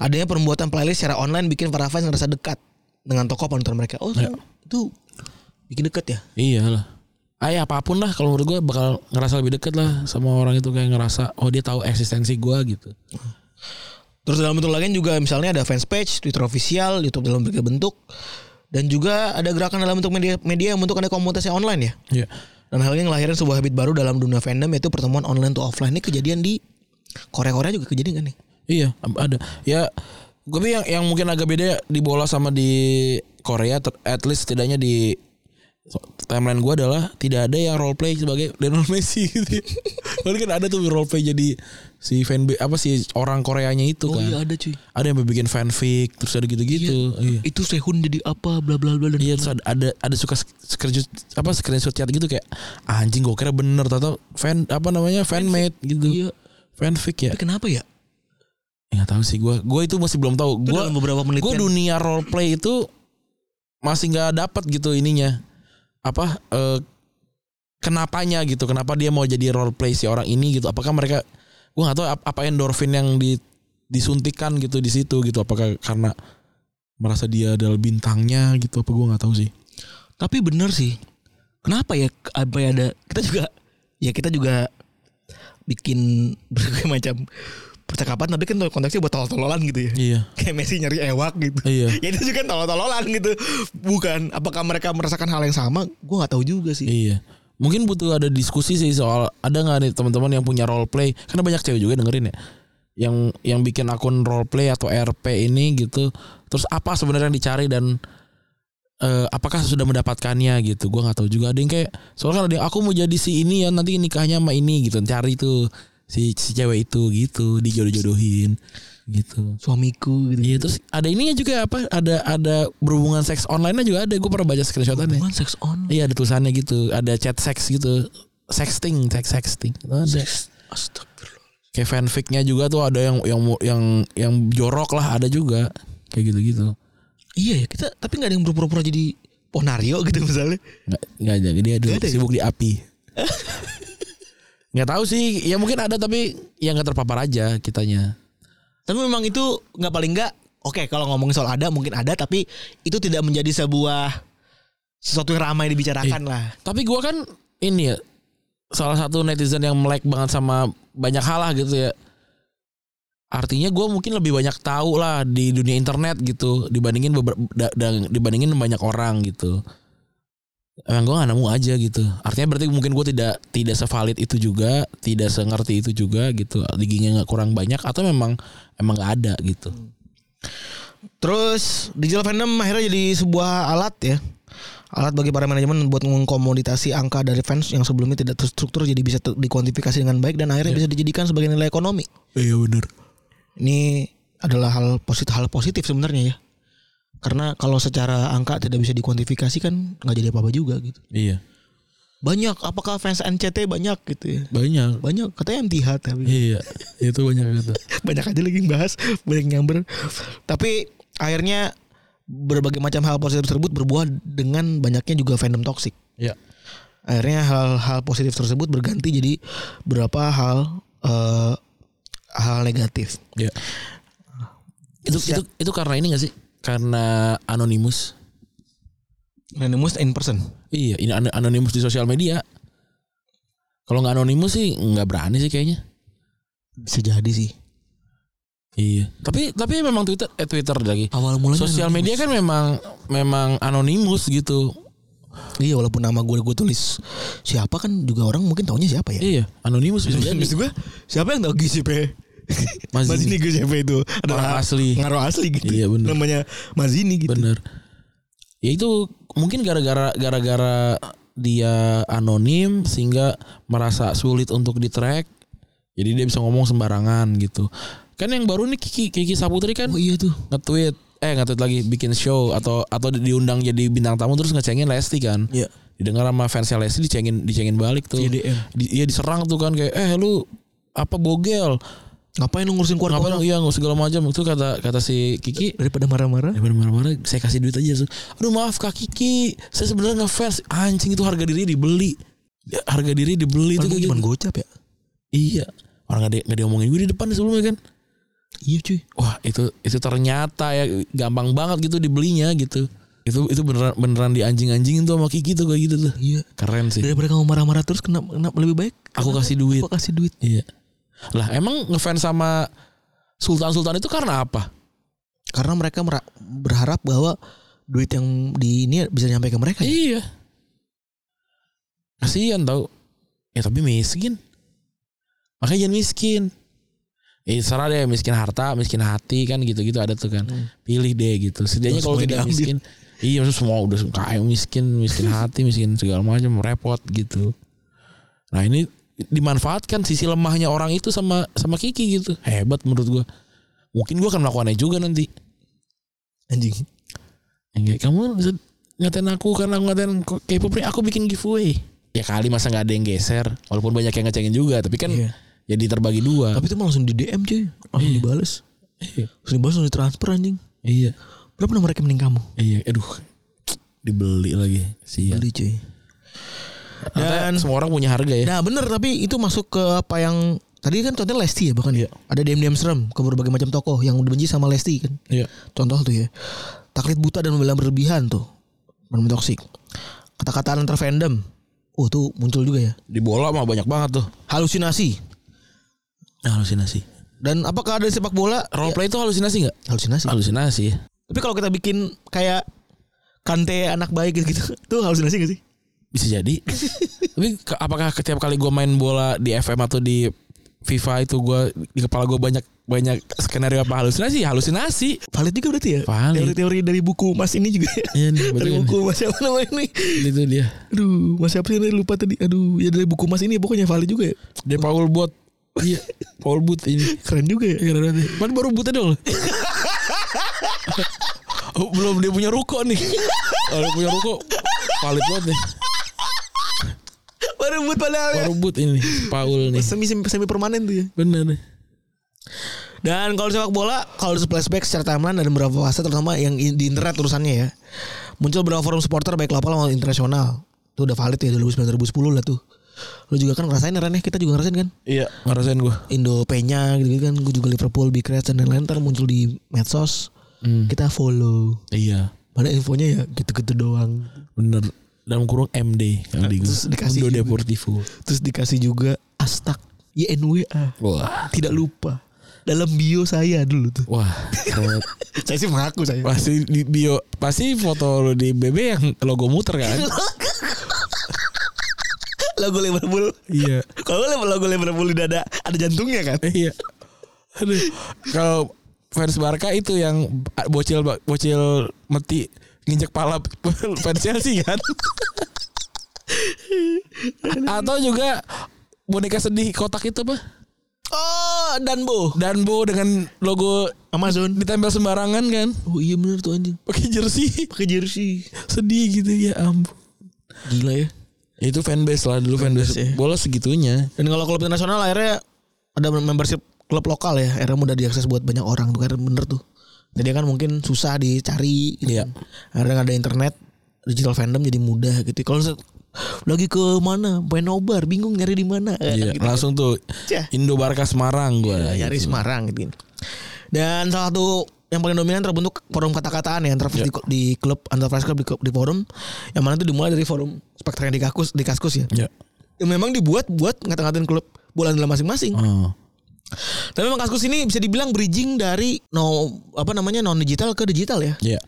S4: adanya pembuatan playlist secara online bikin para fans ngerasa dekat dengan tokoh penonton mereka. Oh itu bikin dekat ya.
S3: Iyalah. Ah, ya apapun lah kalau menurut gue bakal ngerasa lebih deket lah sama orang itu kayak ngerasa oh dia tahu eksistensi gue gitu.
S4: Terus dalam bentuk lain juga misalnya ada fanspage, Twitter official, YouTube dalam berbagai bentuk dan juga ada gerakan dalam bentuk media media yang bentuk ada komunitasnya online ya.
S3: Iya.
S4: Dan hal ini ngelahirin sebuah habit baru dalam dunia fandom yaitu pertemuan online to offline. Ini kejadian di Korea-Korea juga kejadian kan nih?
S3: Iya, ada. Ya, gue yang yang mungkin agak beda di bola sama di Korea, ter- at least setidaknya di so- timeline gue adalah tidak ada yang role play sebagai Lionel Messi gitu. Padahal kan ada tuh role play jadi si fan apa si orang Koreanya itu
S4: Oh
S3: kan.
S4: iya, ada cuy.
S3: Ada yang bikin fanfic terus ada gitu-gitu. Iya.
S4: Itu Sehun jadi apa bla bla bla dan
S3: Iya terus ada ada, ada suka sk- screenshot apa screenshot chat gitu kayak anjing gue kira bener tau fan apa namanya fanmate gitu.
S4: Iya.
S3: Fanfic ya.
S4: Tapi kenapa ya?
S3: Enggak tahu sih gue. Gue itu masih belum tahu.
S4: Itu
S3: Gue
S4: dalam beberapa menit
S3: gue dunia role play itu masih nggak dapat gitu ininya apa eh, kenapanya gitu kenapa dia mau jadi role play si orang ini gitu apakah mereka gue nggak tahu ap- apa endorfin yang di- disuntikan gitu di situ gitu apakah karena merasa dia adalah bintangnya gitu apa gue nggak tahu sih
S4: Tapi bener sih. Kenapa ya apa ya ada kita juga ya kita juga bikin berbagai macam percakapan tapi kan konteksnya buat tolol-tololan gitu ya.
S3: iya
S4: Kayak Messi nyari ewak gitu.
S3: iya
S4: Ya itu juga tolol-tololan gitu. Bukan apakah mereka merasakan hal yang sama? Gua nggak tahu juga sih.
S3: iya mungkin butuh ada diskusi sih soal ada nggak nih teman-teman yang punya role play karena banyak cewek juga dengerin ya yang yang bikin akun role play atau RP ini gitu terus apa sebenarnya yang dicari dan eh, apakah sudah mendapatkannya gitu gue nggak tahu juga ada yang kayak soalnya kan ada yang aku mau jadi si ini ya nanti nikahnya sama ini gitu cari tuh si si cewek itu gitu dijodoh-jodohin gitu
S4: Suamiku gitu.
S3: iya terus ada ininya juga apa ada ada berhubungan seks online juga ada gue pernah baca screenshotannya
S4: Bukan seks on.
S3: iya ada tulisannya gitu ada chat seks gitu sexting seks sexting itu ada
S4: Astagfirullah.
S3: kayak fanficnya juga tuh ada yang yang yang yang jorok lah ada juga kayak gitu-gitu
S4: Iya ya kita tapi nggak ada yang berpura-pura jadi Ponario gitu misalnya.
S3: nggak nggak ada dia dulu
S4: Nggak ada ya?
S3: sibuk di api nggak tahu sih ya mungkin ada tapi ya nggak terpapar aja kitanya
S4: Tapi memang itu nggak paling nggak Oke kalau ngomongin soal ada mungkin ada tapi itu tidak menjadi sebuah sesuatu yang ramai dibicarakan lah.
S3: tapi gua kan ini ya salah satu netizen yang melek banget sama banyak hal lah gitu ya artinya gua mungkin lebih banyak tahu lah di dunia internet gitu dibandingin beber- da- da- dibandingin banyak orang gitu emang gue gak nemu aja gitu artinya berarti mungkin gue tidak tidak sevalid itu juga tidak sengerti itu juga gitu diginya nggak kurang banyak atau memang emang nggak ada gitu
S4: Terus digital fandom akhirnya jadi sebuah alat ya. Alat bagi para manajemen buat mengkomoditasi angka dari fans yang sebelumnya tidak terstruktur jadi bisa ter- dikuantifikasi dengan baik dan akhirnya bisa dijadikan sebagai nilai ekonomi.
S3: iya benar
S4: Ini adalah hal positif hal positif sebenarnya ya. Karena kalau secara angka tidak bisa dikuantifikasi kan nggak jadi apa-apa juga gitu.
S3: iya
S4: Banyak apakah fans NCT banyak gitu ya?
S3: banyak
S4: Banyak katanya MTH tapi
S3: iya itu banyak gitu
S4: banyak aja lagi yang bahas banyak yang nyamber tapi akhirnya berbagai macam hal positif tersebut berbuah dengan banyaknya juga fandom toksik
S3: iya
S4: akhirnya hal-hal positif tersebut berganti jadi berapa hal eh, hal negatif
S3: iya itu itu itu karena ini gak sih karena anonimus
S4: anonymous in person
S3: iya ini an- anonimus di sosial media kalau nggak anonimus sih nggak berani sih kayaknya
S4: bisa jadi sih
S3: iya tapi tapi memang twitter eh twitter lagi
S4: awal mulanya
S3: sosial media kan memang memang anonimus gitu.
S4: iya walaupun nama gue gue tulis siapa kan juga orang mungkin taunya siapa ya
S3: Iya, anonimus bisa jadi.
S4: Maksud gue siapa yang tahu GCP
S3: Mas
S4: Mazini
S3: Zini.
S4: GCP itu
S3: Orang
S4: adalah
S3: asli.
S4: ngaruh asli gitu
S3: Iya, bener.
S4: namanya Mazini gitu
S3: Bener. Ya itu mungkin gara-gara gara-gara dia anonim sehingga merasa sulit untuk di track. Jadi dia bisa ngomong sembarangan gitu. Kan yang baru nih Kiki Kiki Saputri kan
S4: oh iya tuh
S3: nge-tweet eh nge-tweet lagi bikin show atau atau diundang jadi bintang tamu terus ngecengin Lesti kan.
S4: Iya.
S3: Didengar sama fansnya Lesti dicengin dicengin balik tuh.
S4: CDM.
S3: Di, iya diserang tuh kan kayak eh lu apa bogel?
S4: Ngapain lu ngurusin keluarga
S3: Ngapain
S4: orang?
S3: iya nggak segala macam itu kata kata si Kiki
S4: Daripada marah-marah.
S3: daripada marah-marah saya kasih duit aja langsung, aduh maaf kak Kiki saya sebenarnya ngefans anjing itu harga diri dibeli Ya, harga diri dibeli itu
S4: Itu
S3: kayak
S4: cuma
S3: gitu.
S4: gocap ya.
S3: iya orang nggak ada nggak diomongin gue di depan sebelumnya kan
S4: Iya cuy.
S3: wah itu itu ternyata ya gampang banget gitu dibelinya gitu itu itu beneran beneran di anjing anjingin tuh sama Kiki tuh kayak gitu tuh
S4: Iya.
S3: keren sih
S4: Daripada kamu marah-marah terus kena kena lebih baik
S3: aku kasih duit
S4: aku kasih duit.
S3: iya lah emang ngefans sama Sultan Sultan itu karena apa
S4: Karena mereka mera- berharap bahwa duit yang di ini bisa nyampe ke mereka. ya.
S3: Iya. Kasihan tau. Ya tapi miskin. Makanya jangan miskin. Eh, serah deh miskin harta, miskin hati kan gitu-gitu ada tuh kan. Pilih deh gitu. Setidaknya
S4: Terus
S3: kalau
S4: semuanya
S3: tidak
S4: Hmm. diambil.
S3: miskin. Iya maksudnya semua udah kaya miskin, miskin hati, miskin segala macam repot gitu. Nah ini dimanfaatkan sisi lemahnya orang itu sama sama Kiki gitu. Hebat menurut gua. Mungkin gua akan melakukannya juga nanti.
S4: Anjing.
S3: Iya. Enggak, kamu bisa ngatain aku karena aku ngatain ko- K-pop nih, aku bikin giveaway. Ya kali masa nggak ada yang geser, walaupun banyak yang ngecengin juga, tapi kan
S4: Iya.
S3: jadi terbagi dua.
S4: Tapi itu malah langsung di DM cuy. Langsung dibales.
S3: Iya.
S4: Langsung dibales langsung ditransfer anjing.
S3: iya,
S4: Berapa nomor rekening kamu?
S3: iya, aduh, dibeli lagi sih.
S4: Beli cuy.
S3: Iya. Dan semua orang punya harga ya.
S4: Nah bener tapi itu masuk ke apa yang Tadi kan contohnya Lesti ya bahkan ya.
S3: Iya.
S4: Ada DM-DM serem ke berbagai macam tokoh yang dibenci sama Lesti kan.
S3: Iya,
S4: Contoh tuh ya Taklid buta dan pembelaan berlebihan tuh Fandom toksik Kata-kataan antar fandom Oh tuh muncul juga ya
S3: di bola mah banyak banget tuh.
S4: Halusinasi
S3: Halusinasi.
S4: Dan apakah ada di sepak bola Ya,
S3: Role play itu halusinasi nggak?
S4: Halusinasi
S3: Halusinasi.
S4: Tapi kalau kita bikin kayak Kante anak baik gitu Tuh halusinasi gak sih?
S3: Bisa jadi. tapi ke- apakah setiap kali gue main bola di FM atau di FIFA itu gue di kepala gue banyak banyak skenario apa halusinasi? Halusinasi.
S4: Valid juga berarti ya
S3: Valid.
S4: Teori-teori dari buku mas ini juga ya
S3: Iya nih, betul
S4: Dari
S3: ini.
S4: buku mas siapa namanya ini
S3: itu dia
S4: Aduh mas siapa sih tadi lupa tadi Aduh ya dari buku mas ini pokoknya valid juga ya
S3: dia Paul Bot iya Paul Bot ini
S4: Keren juga ya
S3: keren banget Pan baru buta dong oh, belum dia punya ruko nih kalau dia punya ruko valid banget nih
S4: Baru buat padahal ya
S3: baru but ini Paul nih
S4: semi, semi, semi permanen tuh ya
S3: bener nih
S4: Dan kalau di sepak bola, kalau di flashback secara timeline ada beberapa fase terutama yang i- di internet urusannya ya. Muncul beberapa forum supporter baik lokal maupun internasional. Itu udah valid ya 2009-2010 lah tuh. Lu juga kan ngerasain Ren ya, kita juga ngerasain kan.
S3: iya ngerasain gue
S4: Indo Penya gitu kan, gue juga Liverpool, Big Reds dan lain-lain ntar muncul di medsos. Kita follow.
S3: iya
S4: Padahal infonya ya gitu-gitu doang.
S3: bener dalam kurung MD kali gue
S4: Terus dikasih
S3: Mundo
S4: juga.
S3: Deportivo
S4: Terus dikasih juga Astak YNWA.
S3: wah
S4: Tidak lupa. Dalam bio saya dulu tuh.
S3: wah keren.
S4: saya sih mengaku saya.
S3: pasti di bio pasti foto lu di BB yang logo muter kan
S4: logo Liverpool.
S3: Iya.
S4: Kalau logo Liverpool di dada ada jantungnya kan?
S3: Iya. Aduh. Kalau fans Barca itu yang bocil bocil meti nginjek pala fans Chelsea kan. Atau juga boneka sedih kotak itu apa?
S4: Oh, Danbo.
S3: Danbo dengan logo
S4: Amazon.
S3: ditempel sembarangan kan.
S4: Oh iya bener tuh anjing.
S3: Pakai jersey.
S4: Pakai jersey.
S3: sedih gitu ya ampun.
S4: Gila ya.
S3: Itu fanbase lah dulu fanbase.
S4: Fanbase, ya.
S3: Bola segitunya.
S4: Dan kalau klub internasional akhirnya ada membership klub lokal ya, akhirnya mudah diakses buat banyak orang tuh kan bener tuh. Jadi kan mungkin susah dicari gitu.
S3: Iya.
S4: Akhirnya ada internet, digital fandom jadi mudah gitu. Kalau se- lagi ke mana? Penobar, bingung nyari di mana.
S3: Iya,
S4: Gitu.
S3: langsung tuh
S4: Cah.
S3: Indo Barca Semarang gua.
S4: Ya, nyari
S3: gitu.
S4: Semarang gitu. Dan salah satu yang paling dominan terbentuk forum kata-kataan ya antar
S3: Iya.
S4: di, di klub antar fans club di, klub- di forum yang mana itu dimulai dari forum spektranya di kaskus di kaskus ya.
S3: Ya.
S4: Yang memang dibuat buat ngata-ngatain klub bola dalam masing-masing.
S3: Oh.
S4: Tapi memang kaskus ini bisa dibilang bridging dari no apa namanya non digital ke digital ya.
S3: Ya.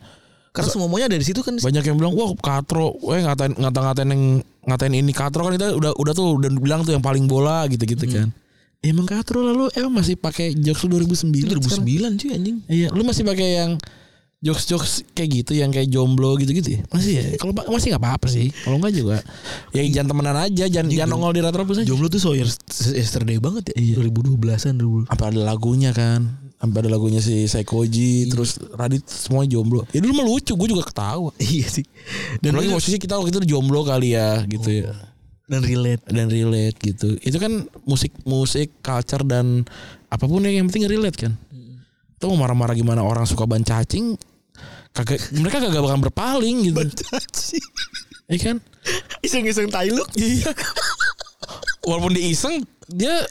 S4: Karena semuanya dari situ kan.
S3: Banyak yang bilang, "Wah, Katro, weh ngatain ngata-ngatain yang ngatain ini Katro kan kita udah udah tuh udah bilang tuh yang paling bola gitu-gitu kan." Emang Katro lalu emang masih pakai jokes lu 2009. sekarang?
S4: cuy anjing.
S3: Iya, lu masih pakai yang jokes-jokes kayak gitu yang kayak jomblo gitu-gitu ya? Masih ya? Kalau pa- masih nggak apa-apa sih. Kalau nggak juga ya jangan temenan aja, jangan jangan nongol di retrobus aja.
S4: Jomblo tuh so yes- yesterday banget ya. 2012-an dulu.
S3: Apa ada lagunya kan? Sampai ada lagunya si Sekoji, terus Radit semua jomblo. Ya dulu mah lucu, gue juga ketawa.
S4: Iya sih. Dan
S3: Dan lagi
S4: itu-
S3: posisi kita waktu itu jomblo kali ya gitu ya.
S4: dan relate.
S3: Dan relate gitu. Itu kan musik musik culture dan apapun yang yang penting relate kan. Itu mau marah-marah gimana orang suka ban cacing kagak mereka kagak bakal berpaling gitu. Iya kan?
S4: Iseng-iseng tai lu.
S3: Iya. Walaupun dia iseng, dia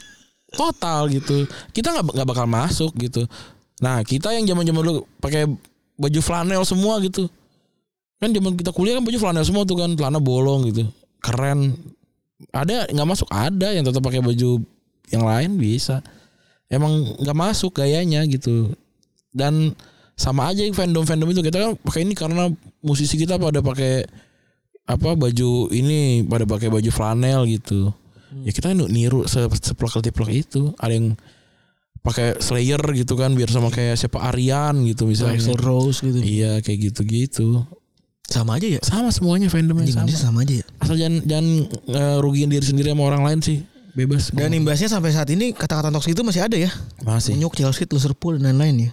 S3: total gitu. Kita nggak nggak bakal masuk gitu. Nah kita yang zaman zaman dulu pakai baju flanel semua gitu. Kan zaman kita kuliah kan baju flanel semua tuh kan celana bolong gitu. Keren. Ada nggak masuk ada yang tetap pakai baju yang lain bisa. Emang nggak masuk gayanya gitu. Dan sama aja fandom-fandom itu kita kan pakai ini karena musisi kita pada pakai apa baju ini pada pakai baju flanel gitu ya kita nu- niru se- seplok ketiplok itu ada yang pakai Slayer gitu kan biar sama kayak siapa Aryan gitu misalnya
S4: Axl Rose gitu.
S3: iya kayak gitu gitu
S4: Sama aja ya.
S3: sama semuanya fandomnya
S4: Anjing,
S3: sama
S4: anjing sama aja ya.
S3: asal jangan jangan eh, rugiin diri sendiri sama orang lain sih bebas
S4: Dan imbasnya sampai saat ini kata-kata toksik itu masih ada ya.
S3: masih
S4: Unyuk, Chelsea, Liverpool dan lain-lain ya.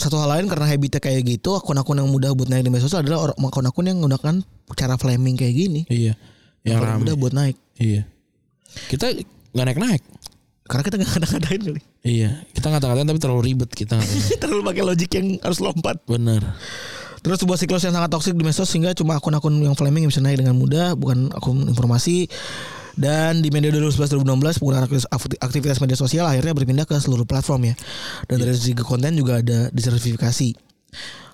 S4: Satu hal lain karena habitnya kayak gitu, akun-akun yang mudah buat naik di media sosial adalah orang- akun-akun yang menggunakan cara flaming kayak gini.
S3: iya yang
S4: Orang
S3: rame
S4: mudah buat naik.
S3: iya kita nggak naik naik
S4: Karena kita nggak ngata-ngatain kali.
S3: iya kita ngata-ngatain tapi terlalu ribet kita ngata-ngatain.
S4: Terlalu pakai logik yang harus lompat.
S3: bener
S4: Terus sebuah siklus yang sangat toksik di medsos sehingga cuma akun-akun yang flaming yang bisa naik dengan mudah, bukan akun informasi. Dan di media 2011-2016 penggunaan aktivis- aktivitas media sosial akhirnya berpindah ke seluruh platform ya. Dan dari segi konten juga ada disertifikasi.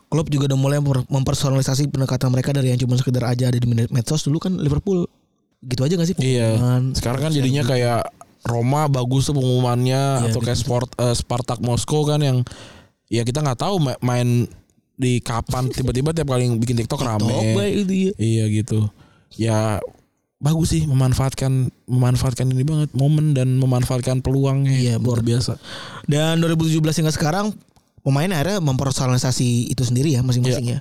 S4: Klub juga udah mulai memper- mempersonalisasi pendekatan mereka dari yang cuma sekedar aja ada di media- medsos dulu kan Liverpool gitu aja gak sih?
S3: Iya.
S4: pengumuman?
S3: Sekarang kan jadinya kayak Roma bagus tuh pengumumannya atau kayak Sport eh, Spartak Moskow kan yang ya kita nggak tahu ma- main di kapan tiba-tiba tiap kali bikin TikTok
S4: Top
S3: rame.
S4: baik itu ya.
S3: Iya gitu. Ya bagus sih memanfaatkan memanfaatkan ini banget momen dan memanfaatkan peluangnya
S4: Iya,
S3: luar biasa.
S4: Dan 2017 hingga sekarang pemain akhirnya mempersonalisasi itu sendiri ya masing-masing ya.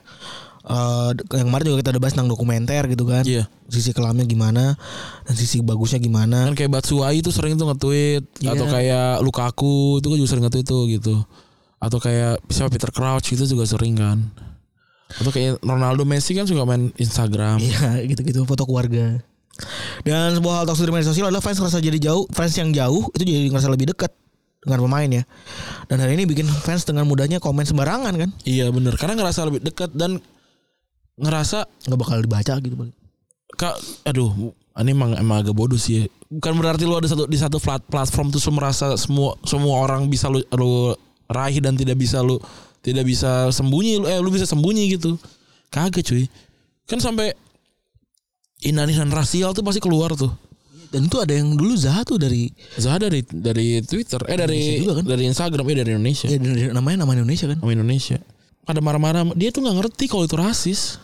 S4: Eh, yang kemarin juga kita udah bahas tentang dokumenter gitu kan.
S3: Iya.
S4: Sisi kelamnya gimana dan sisi bagusnya gimana.
S3: Kan kayak Batsuai itu sering tuh nge-tweet
S4: Iya.
S3: atau kayak Lukaku itu kan juga sering nge-tweet tuh gitu. Atau kayak siapa Peter Crouch itu juga sering kan. Atau kayak Ronaldo Messi kan suka main Instagram.
S4: Iya, gitu-gitu foto keluarga. Dan sebuah hal toksik di media sosial adalah fans ngerasa jadi jauh, fans yang jauh itu jadi ngerasa lebih dekat dengan pemain ya. Dan hari ini bikin fans dengan mudahnya komen sembarangan kan,
S3: Iya bener Karena ngerasa lebih dekat Dan ngerasa
S4: nggak bakal dibaca gitu. Bang.
S3: kak, Aduh Ini emang, emang agak bodoh sih ya. Bukan berarti lu ada satu di satu plat, platform Terus lu merasa semua semua orang bisa lu, lu raih Dan tidak bisa lu Tidak bisa sembunyi lu, Eh lu bisa sembunyi gitu Kagak cuy Kan sampai Inanisan rasial tuh pasti keluar tuh
S4: Dan itu ada yang dulu Zaha tuh dari
S3: Zaha dari dari Twitter eh dari
S4: Indonesia juga kan?
S3: dari Instagram eh dari Indonesia
S4: ya, dari- dari- namanya nama Indonesia kan.
S3: sama Indonesia pada marah-marah dia tuh nggak ngerti kalau itu rasis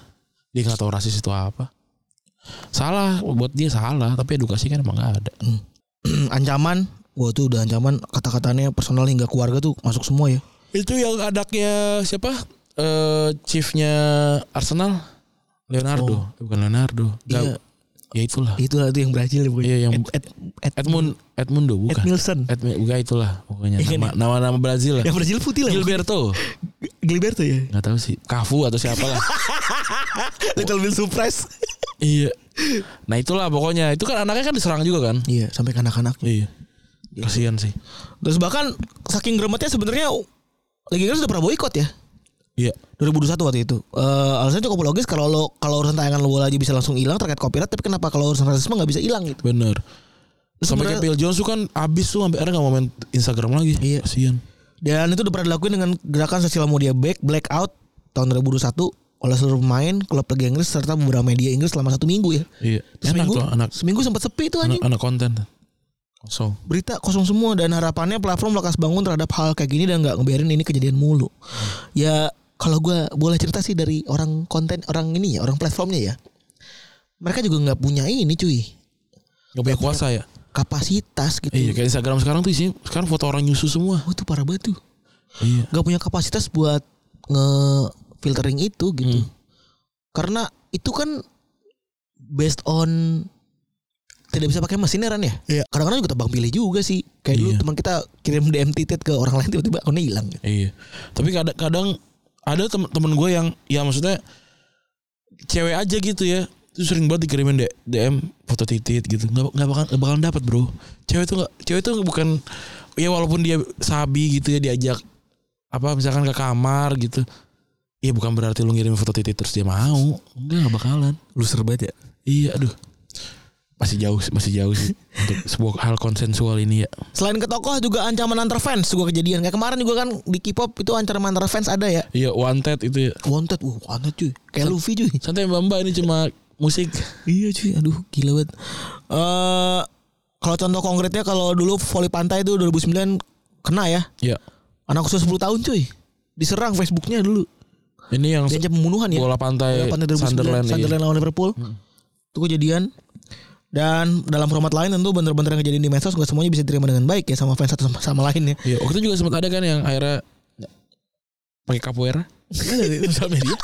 S3: dia nggak tahu rasis itu apa Salah buat dia salah, tapi edukasi kan emang gak ada.
S4: Hmm, ancaman Wah itu udah ancaman kata-katanya personal hingga keluarga tuh masuk semua ya.
S3: Itu yang adaknya siapa? Eh chiefnya Arsenal Leonardo, Eh, bukan Leonardo. Gak-
S4: Iya.
S3: Ya itulah.
S4: Itulah itu yang Brazil ya pokoknya.
S3: Iya yang
S4: Ed, Ed, Ed,
S3: Edmund Edmundo bukan.
S4: Edmilson.
S3: Edmi- bukan itulah pokoknya nama nama, nama Brazil lah.
S4: Yang Brazil putih lah.
S3: Gilberto.
S4: Gilberto ya.
S3: Gak tahu sih. Cafu atau siapa lah.
S4: Little bit surprise.
S3: iya. Nah itulah pokoknya. Itu kan anaknya kan diserang juga kan.
S4: Iya sampai ke anak-anak.
S3: Iya. Kasihan sih.
S4: Terus bahkan saking gremetnya sebenarnya Liga Inggris udah pernah boikot ya.
S3: Iya.
S4: 2021 waktu itu. Eh alasannya cukup logis kalau lo kalau urusan tayangan bola aja bisa langsung hilang terkait copyright, tapi kenapa kalau urusan rasisme nggak bisa hilang gitu?
S3: Bener. Sampai
S4: sebenarnya-
S3: kayak Phil Jones tuh kan abis tuh sampai akhirnya gak mau main Instagram lagi.
S4: Iya.
S3: Kasihan.
S4: Dan itu udah pernah dilakuin dengan gerakan sosial media back blackout tahun 2021 oleh seluruh pemain klub Liga Inggris serta beberapa media Inggris selama satu minggu ya.
S3: Iya. Enak
S4: Seminggu,
S3: tuh anak
S4: seminggu sempat sepi tuh
S3: anak,
S4: anjing.
S3: anak konten. Kosong.
S4: Berita kosong semua dan harapannya platform lekas bangun terhadap hal kayak gini dan nggak ngebiarin ini kejadian mulu. Ya kalau gue boleh cerita sih dari orang konten orang ini ya orang platformnya ya. Mereka juga nggak punya ini cuy
S3: Gak punya kuasa ya.
S4: kapasitas gitu.
S3: Iya kayak Instagram sekarang tuh isinya sekarang foto orang nyusu semua.
S4: Oh, itu parah banget tuh.
S3: Iya.
S4: Gak punya kapasitas buat nge filtering itu gitu. Karena itu kan based on tidak bisa pakai mesin ya Ran ya.
S3: Iya.
S4: Kadang-kadang juga tebang pilih juga sih. Kayak dulu
S3: Iya.
S4: teman kita kirim DM titit ke orang lain tiba-tiba akunnya hilang.
S3: Iya. Tapi kadang-kadang ada temen-temen gue yang ya maksudnya cewek aja gitu ya. Itu sering banget dikirimin D- DM foto titit gitu. Nggak nggak bakal nggak bakalan dapat, Bro. Cewek tuh nggak cewek tuh bukan ya walaupun dia sabi gitu ya diajak apa misalkan ke kamar gitu. Iya bukan berarti lu ngirim foto titit terus dia mau. Enggak nggak bakalan.
S4: Lu serbat ya.
S3: Iya, aduh. Masih jauh, sih, masih jauh sih untuk sebuah hal konsensual ini ya.
S4: Selain ke tokoh juga ancaman antar fans juga kejadian. Kayak kemarin juga kan di K-pop itu ancaman antar fans ada ya.
S3: Iya, wanted itu ya.
S4: Wanted, wah wanted cuy. Kayak Luffy cuy.
S3: Santai Mbak Mbak ini cuma musik.
S4: Iya cuy, aduh gila banget. Eh kalau contoh konkretnya kalau dulu voli pantai itu 2009 kena ya.
S3: Iya.
S4: Anak usia 10 tahun cuy. Diserang Facebooknya dulu.
S3: Ini yang
S4: Diajak pembunuhan ya.
S3: bola pantai,
S4: Bola pantai 2009,
S3: Sunderland. iya.
S4: Sunderland lawan Liverpool. Itu kejadian. Dan dalam format lain tentu bener-bener yang kejadian di medsos gak semuanya bisa diterima dengan baik ya sama fans satu sama, sama lain ya.
S3: Iya, waktu itu juga sempat ada kan yang akhirnya pakai capoeira di sosial media.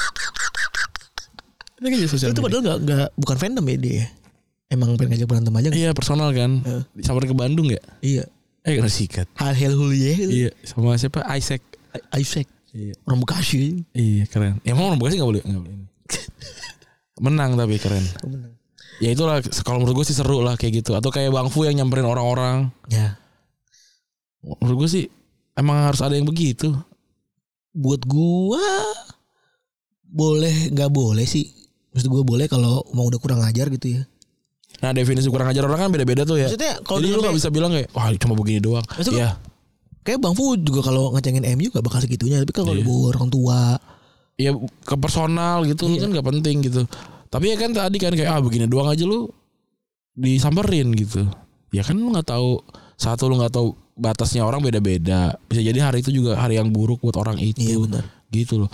S3: Itu kan jadi sosial
S4: Itu
S3: media.
S4: padahal gak, nggak- bukan fandom ya dia. Emang pengen ngajak berantem aja.
S3: Iya, personal kan. Sampai ke Bandung ya?
S4: Iya.
S3: Eh, kena sikat.
S4: Hal hal hulie.
S3: Iya, sama siapa? Isaac.
S4: Isaac.
S3: Iya.
S4: Orang Bekasi.
S3: Iya, keren. Emang orang Bekasi enggak boleh, enggak boleh. Menang tapi keren. Ya itulah kalau menurut gue sih seru lah kayak gitu atau kayak Bang Fu yang nyamperin orang-orang.
S4: Ya.
S3: Menurut gue sih emang harus ada yang begitu.
S4: buat gua boleh nggak boleh sih maksud gua boleh kalau mau udah kurang ajar gitu ya
S3: Nah definisi kurang ajar orang kan beda-beda tuh ya.
S4: maksudnya kalau
S3: Jadi lu
S4: disampe-
S3: gak bisa bilang kayak Wah cuma begini doang
S4: Maksud gua-
S3: Iya
S4: kayak bang Fu juga kalau ngecengin MU gak bakal segitunya tapi kalau
S3: Iya.
S4: dibawa orang tua
S3: ya ke personal gitu
S4: Iya.
S3: lu kan gak penting gitu tapi ya kan tadi kan kayak ah begini doang aja lu disamperin gitu ya kan lu nggak tahu satu lu nggak tahu batasnya orang beda-beda bisa jadi hari itu juga hari yang buruk buat orang itu
S4: Iya, benar.
S3: gitu loh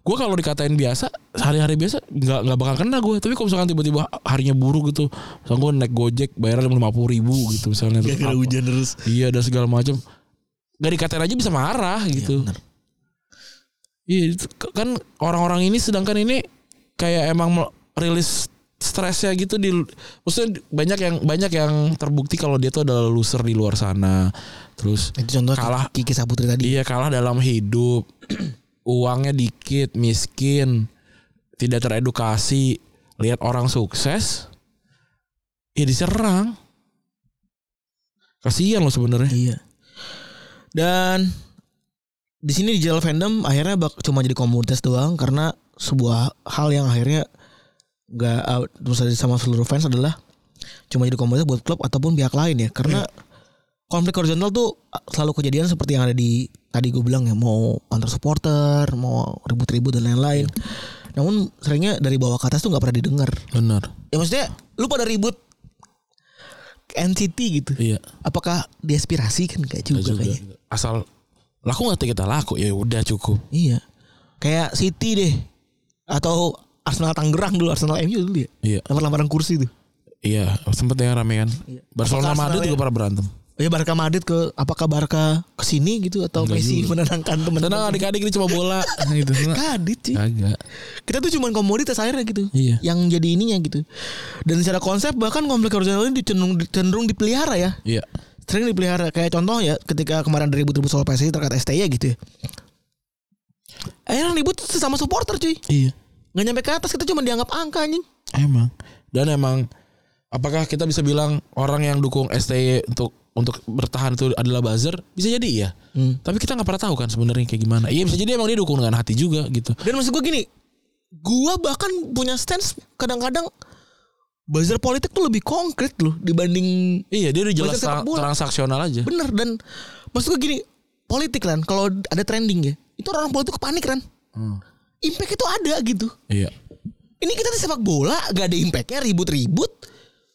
S3: gue kalau dikatain biasa hari-hari biasa nggak nggak bakal kena gue tapi kalau misalkan tiba-tiba harinya buruk gitu misalkan gue naik gojek bayarnya lima puluh ribu gitu misalnya Terus apa-
S4: terus
S3: iya dan segala macam nggak dikatain aja bisa marah gitu
S4: benar.
S3: Iya itu- k- kan orang-orang ini sedangkan ini kayak emang mel- rilis stresnya gitu di maksudnya di- banyak yang banyak yang terbukti kalau dia tuh adalah loser di luar sana. Terus
S4: itu contoh
S3: Kalah.
S4: Kiki Saputri tadi
S3: dia kalah dalam hidup. Uangnya dikit, miskin, tidak teredukasi, lihat orang sukses ya diserang. Kasihan loh sebenarnya.
S4: iya dan di sini di jalan fandom akhirnya bak- cuma jadi komunitas doang karena sebuah hal yang akhirnya nggak out terus sama seluruh fans adalah cuma jadi komunitas buat klub ataupun pihak lain ya karena konflik horizontal tuh uh, selalu kejadian seperti yang ada di tadi gue bilang ya mau antar supporter mau ribut-ribut dan lain-lain namun seringnya dari bawah ke atas tuh nggak pernah didengar
S3: Benar.
S4: ya maksudnya lu pada ribut ke NCT gitu
S3: Iya.
S4: apakah diaspirasi kan kayak juga,
S3: Juga.
S4: kayaknya
S3: Asal laku nggak kita laku ya udah cukup.
S4: iya kayak City deh atau Arsenal Tangerang dulu, Arsenal MU dulu ya.
S3: Iya.
S4: Lempar-lemparan kursi tuh.
S3: Iya, sempet yang rame kan. Barcelona
S4: Apakah Arsenal
S3: Madrid juga
S4: Iya. ya?
S3: pernah berantem.
S4: Oh Ya Barca Madrid ke apakah Barca ke sini gitu atau
S3: Enggak
S4: Messi
S3: juga.
S4: menenangkan teman
S3: Tenang adik-adik ini cuma bola
S4: Nah,
S3: gitu.
S4: Kadit sih.
S3: Kagak.
S4: Kita tuh cuman komoditas akhirnya gitu.
S3: Iya.
S4: Yang jadi ininya gitu. Dan secara konsep bahkan konflik horizontal ini cenderung cenderung dipelihara ya.
S3: Iya.
S4: Sering dipelihara kayak contoh ya ketika kemarin ribut-ribut soal PSSI terkait STY gitu ya. Akhirnya ribut sesama supporter cuy.
S3: Iya.
S4: Nggak nyampe ke atas kita cuma dianggap angka anjing.
S3: Emang. Dan emang apakah kita bisa bilang orang yang dukung STY untuk untuk bertahan itu adalah buzzer? Bisa jadi iya.
S4: Hmm.
S3: Tapi kita nggak pernah tahu kan sebenarnya kayak gimana. Iya bisa jadi emang dia dukung dengan hati juga gitu.
S4: Dan maksud gue gini, gue bahkan punya stance kadang-kadang buzzer politik tuh lebih konkret loh dibanding
S3: Iya dia udah jelas
S4: Buzzer sepak
S3: tra-
S4: bola.
S3: transaksional aja.
S4: bener dan maksud gue gini politik kan kalau ada trending ya itu orang politik panik kan
S3: Hmm.
S4: impact itu ada gitu
S3: Iya.
S4: ini kita di sepak bola gak ada impactnya ribut-ribut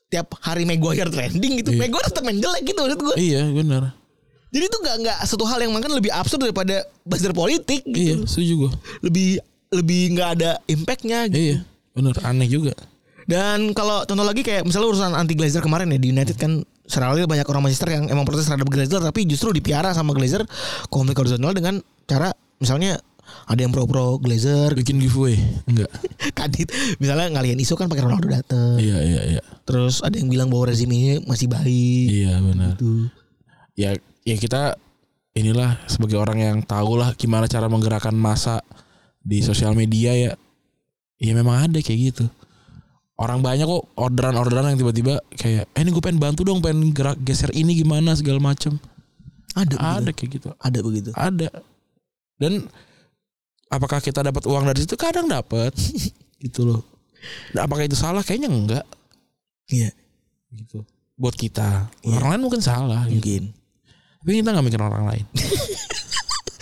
S4: tiap hari Maguire trending gitu
S3: Iya.
S4: Maguire tetap main jelek gitu maksud gue
S3: Iya benar.
S4: jadi itu gak nggak satu hal yang makan lebih absurd daripada buzzer politik gitu.
S3: Iya setuju gue.
S4: lebih lebih nggak ada impactnya gitu.
S3: Iya benar. Aneh juga.
S4: Dan kalau contoh lagi kayak misalnya urusan anti Glazer kemarin ya di United kan seralnya banyak orang Manchester yang emang protes terhadap Glazer tapi justru dipiara sama Glazer konflik horizontal dengan cara misalnya ada yang pro pro Glazer
S3: Bikin giveaway enggak?
S4: kadit misalnya ngalihin isu kan pakai Ronaldo dateng
S3: iya iya iya.
S4: terus ada yang bilang bahwa rezim ini masih baik
S3: Iya benar.
S4: gitu
S3: ya ya kita inilah sebagai orang yang tahu lah gimana cara menggerakkan masa di sosial media ya ya memang ada kayak gitu orang banyak kok orderan orderan yang tiba-tiba kayak eh ini gue pengen bantu dong pengen gerak geser ini gimana segala macem
S4: ada begitu.
S3: ada kayak gitu
S4: ada begitu
S3: ada dan apakah kita dapat uang dari situ kadang dapat gitu loh nah, apakah itu salah kayaknya enggak
S4: Iya.
S3: gitu buat kita orang lain mungkin salah gitu.
S4: mungkin
S3: tapi kita nggak mikir orang lain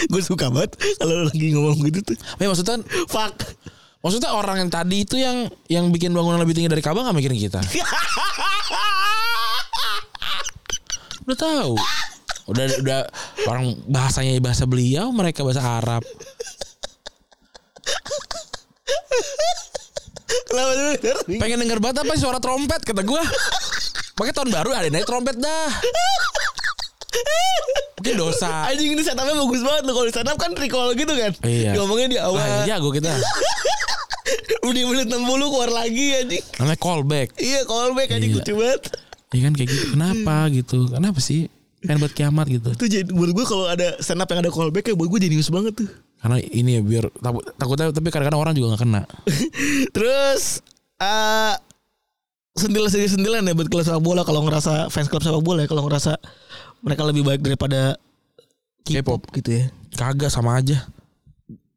S4: gue suka banget kalau lagi ngomong gitu tuh
S3: tapi maksudnya
S4: fuck
S3: Maksudnya orang yang tadi itu yang yang bikin bangunan lebih tinggi dari Ka'bah nggak mikirin kita. Udah tahu. Udah udah orang bahasanya bahasa beliau, mereka bahasa Arab.
S4: kenapa tuh?
S3: Pengen denger banget apa sih suara trompet kata gua. Pakai tahun baru ada naik trompet dah. Mungkin dosa.
S4: Anjing ini setupnya bagus banget loh kalau di setup kan recall gitu kan.
S3: Iya.
S4: Ngomongnya di awal.
S3: Wah, jago kita.
S4: Udah menit 60 keluar lagi anjing.
S3: Namanya callback.
S4: Iya callback anjing
S3: Iya.
S4: lucu banget.
S3: Ya kan kayak gitu. Kenapa gitu? Kenapa sih? Pengen buat kiamat gitu.
S4: Itu jadi buat gue kalau ada stand up yang ada callback ya buat gue jenius banget tuh.
S3: Karena ini ya biar takut takutnya tapi kadang-kadang orang juga nggak kena.
S4: Terus eh sendil sendil sendilan ya buat klub sepak bola kalau ngerasa fans klub sepak bola ya kalau ngerasa mereka lebih baik daripada K-pop gitu ya.
S3: Kagak sama aja.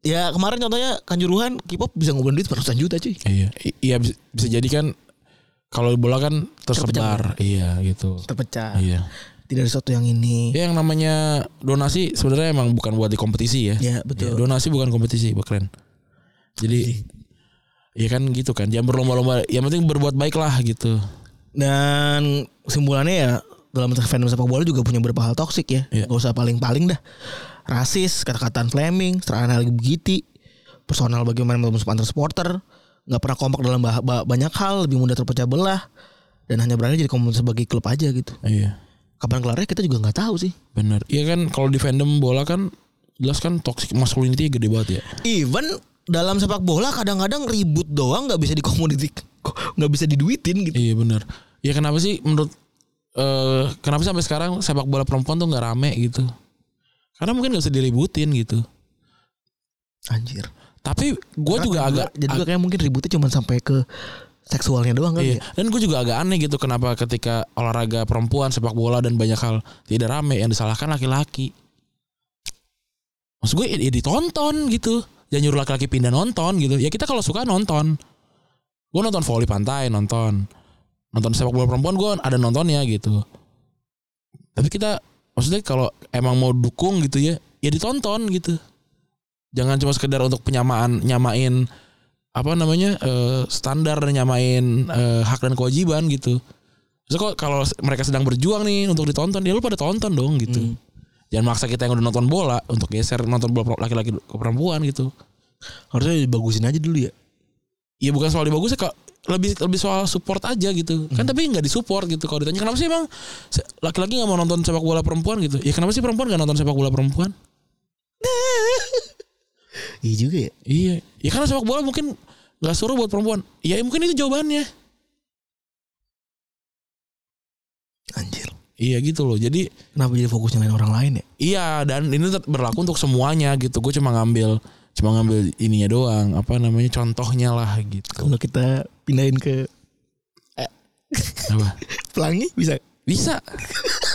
S4: Ya kemarin contohnya Kanjuruhan K-pop bisa ngumpulin duit ratusan juta cuy.
S3: Iya, i- iya bisa, bisa jadi kan kalau bola kan tersebar, iya gitu.
S4: Terpecah.
S3: Iya.
S4: Tidak ada sesuatu yang ini.
S3: Ya yang namanya donasi sebenarnya emang bukan buat di kompetisi ya.
S4: Ya, betul.
S3: Iya, donasi bukan kompetisi, Pak keren. Jadi Iya kan gitu kan. Jangan berlomba-lomba. Yang penting berbuat baik lah gitu.
S4: Dan kesimpulannya ya dalam fandom sepak bola juga punya beberapa hal toksik ya.
S3: Iya.
S4: Gak usah paling-paling dah. Rasis, kata-kataan Fleming, serangan LGBT, personal bagaimana musuh antar supporter, nggak pernah kompak dalam bah- bah- banyak hal, lebih mudah terpecah belah dan hanya berani jadi komunitas sebagai klub aja gitu.
S3: Iya.
S4: Kapan kelarnya kita juga nggak tahu sih.
S3: Bener. Iya kan kalau di fandom bola kan jelas kan toxic masculinity gede banget ya.
S4: Even dalam sepak bola kadang-kadang ribut doang nggak bisa dikomoditik, nggak bisa diduitin gitu.
S3: Iya benar. Ya kenapa sih menurut eh kenapa sih sampai sekarang sepak bola perempuan tuh nggak rame gitu? Karena mungkin nggak usah diributin gitu.
S4: Anjir.
S3: Tapi gue juga agak
S4: jadi juga kayak mungkin ributnya cuma sampai ke seksualnya doang kali ya.
S3: iya. dan gue juga agak aneh gitu kenapa ketika olahraga perempuan sepak bola dan banyak hal tidak rame yang disalahkan laki-laki. Maksud gue ya ditonton gitu. Jangan nyuruh laki-laki pindah nonton gitu. Ya kita kalau suka nonton. Gue nonton voli pantai nonton. Nonton sepak bola perempuan gue ada nontonnya gitu. Tapi kita maksudnya kalau emang mau dukung gitu ya, ya ditonton gitu. Jangan cuma sekedar untuk penyamaan nyamain apa namanya eh, standar dan nyamain eh, hak dan kewajiban gitu. Terus kok kalau mereka sedang berjuang nih untuk ditonton, ya lu pada tonton dong gitu.
S4: Hmm.
S3: Jangan maksa kita yang udah nonton bola untuk geser nonton bola pro- laki-laki ke perempuan gitu.
S4: Harusnya dibagusin aja dulu ya.
S3: ya bukan soal lebih bagus ya kok lebih lebih soal support aja gitu kan tapi nggak disupport gitu kalau ditanya kenapa sih emang se- laki-laki nggak mau nonton sepak bola perempuan gitu ya kenapa sih perempuan nggak nonton sepak bola perempuan
S4: Iya juga ya.
S3: iya ya karena sepak bola mungkin nggak suruh buat perempuan ya mungkin itu jawabannya
S4: Anjir.
S3: iya gitu loh jadi
S4: Kenapa jadi fokus nyalain orang lain ya?
S3: Iya dan ini tet- berlaku untuk semuanya gitu. Gue cuma ngambil cuma ngambil ininya doang. Apa namanya contohnya lah gitu.
S4: Kalau kita pindahin ke
S3: Apa?
S4: pelangi bisa.
S3: Bisa.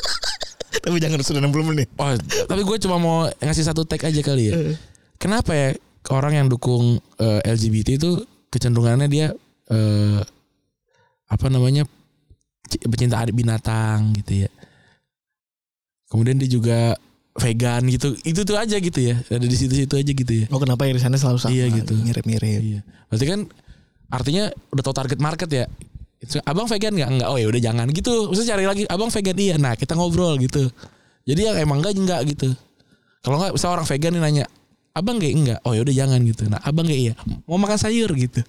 S4: Tapi jangan sudah 60 menit. Eh.
S3: Oh, tapi gue cuma mau ngasih satu tag aja kali ya.
S4: Iya.
S3: Kenapa ya orang yang dukung eh, LGBT itu kecenderungannya dia eh, apa namanya c- pecinta adik binatang gitu ya. Kemudian dia juga vegan gitu. Itu tuh aja gitu ya. Ada di situ-situ aja gitu ya.
S4: Oh kenapa irisannya selalu sama?
S3: Iya, gitu.
S4: Mirip-mirip.
S3: Iya. Berarti kan artinya udah tau target market ya. Itu, Abang vegan nggak? Enggak. Oh ya udah jangan gitu. Maksudnya cari lagi. Abang vegan iya. Nah kita ngobrol gitu. Jadi yang emang enggak enggak gitu. Kalau enggak misalnya orang vegan nih nanya, abang gak enggak? Oh ya udah jangan gitu. Nah abang gak iya. Mau makan sayur gitu.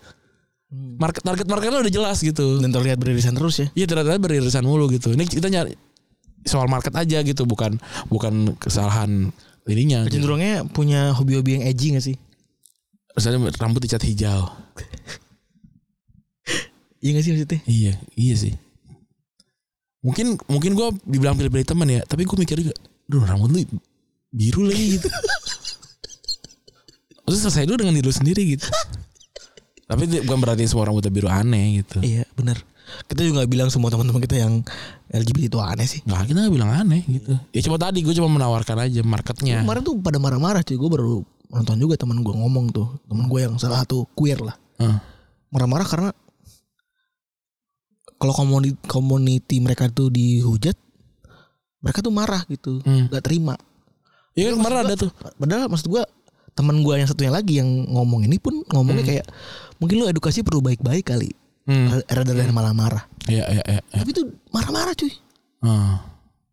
S3: Market target marketnya udah jelas gitu.
S4: Dan terlihat beririsan terus ya.
S3: Iya ternyata beririsan mulu gitu. Ini kita nyari soal market aja gitu, bukan bukan kesalahan ininya.
S4: Iya.
S3: Gitu.
S4: Cenderungnya punya hobi-hobi yang edgy gak sih?
S3: Misalnya rambut dicat hijau.
S4: Iya gak sih maksudnya?
S3: Iya, iya sih. Mungkin mungkin gue dibilang pilih-pilih teman ya, tapi gue mikir juga, duh rambut lu biru lagi gitu. Terus selesai dulu dengan diri lu sendiri gitu. tapi itu bukan berarti semua rambutnya biru aneh gitu.
S4: Iya benar. Kita juga nggak bilang semua teman-teman kita yang LGBT itu aneh sih.
S3: Nggak, kita nggak bilang aneh gitu. Ya cuma tadi gue cuma menawarkan aja marketnya.
S4: Kemarin tuh pada marah-marah cuy. Gue baru nonton juga teman gue ngomong tuh. Teman gue yang salah satu queer lah.
S3: Heeh.
S4: Marah-marah karena kalau komuni- community mereka tuh dihujat, mereka tuh marah gitu,
S3: Hmm.
S4: nggak terima.
S3: Iya kan kemarin ada tuh.
S4: Padahal maksud gue teman gue yang satunya lagi yang ngomong ini pun ngomongnya kayak mungkin lu edukasi perlu baik-baik kali.
S3: Hmm.
S4: Rada dari malah marah.
S3: Iya iya iya. iya.
S4: Tapi tuh marah-marah cuy.
S3: Ah,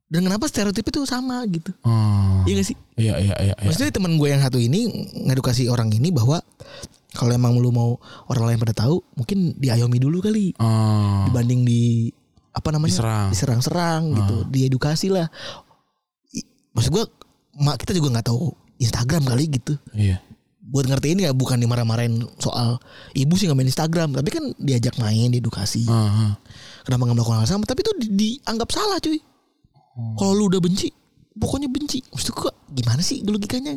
S4: Dan kenapa stereotip itu sama gitu?
S3: ah.
S4: Iya gak sih?
S3: Iya iya iya. iya.
S4: Maksudnya teman gue yang satu ini ngedukasi orang ini bahwa kalau emang lu mau orang lain pada tahu, mungkin diayomi dulu kali
S3: Ah.
S4: dibanding di apa namanya?
S3: Diserang. Hmm.
S4: Diserang-serang gitu, diedukasi lah. I- Maksud gue mak kita juga nggak tahu Instagram kali gitu.
S3: Iya.
S4: Buat ngertiin ya bukan dimarah-marahin soal ibu sih nggak main Instagram, tapi kan diajak main, diedukasi.
S3: Ah, ah.
S4: Kenapa nggak melakukan hal sama? Tapi itu di- dianggap salah cuy.
S3: Hmm.
S4: Kalau lu udah benci, pokoknya benci. Maksud gue gimana sih logikanya?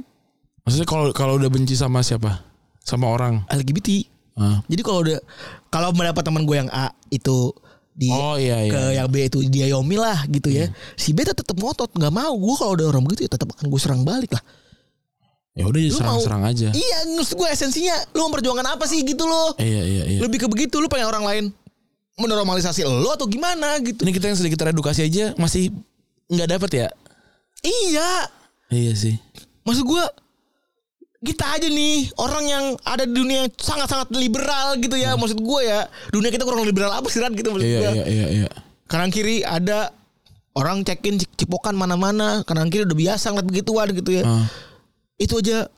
S3: Maksudnya kalau kalau udah benci sama siapa? Sama orang.
S4: LGBT.
S3: Ah.
S4: Jadi kalau udah kalau mendapat teman gue yang A itu di
S3: Oh iya iya.
S4: ke yang B itu dia Yomi lah gitu ya. Si B tetap ngotot nggak mau. Gue kalau ada orang begitu ya tetap akan gue serang balik lah.
S3: Ya udah
S4: Lu
S3: serang-serang
S4: mau-
S3: aja.
S4: Iya, maksud gue esensinya lu memperjuangkan apa sih gitu loh.
S3: Iya iya iya.
S4: Lebih ke begitu lu pengen orang lain menormalisasi lo atau gimana gitu.
S3: Ini kita yang sedikit teredukasi aja masih nggak dapet ya?
S4: Iya,
S3: Iya sih.
S4: maksud gue kita aja nih orang yang ada di dunia yang sangat-sangat liberal gitu ya maksud gue ya dunia kita kurang liberal apa sih Ran gitu maksud
S3: Iya
S4: gue
S3: iya iya iya.
S4: kanan kiri ada orang cekin cipokan mana-mana kanan kiri udah biasa ngeliat begituan gitu ya
S3: Ah,
S4: itu aja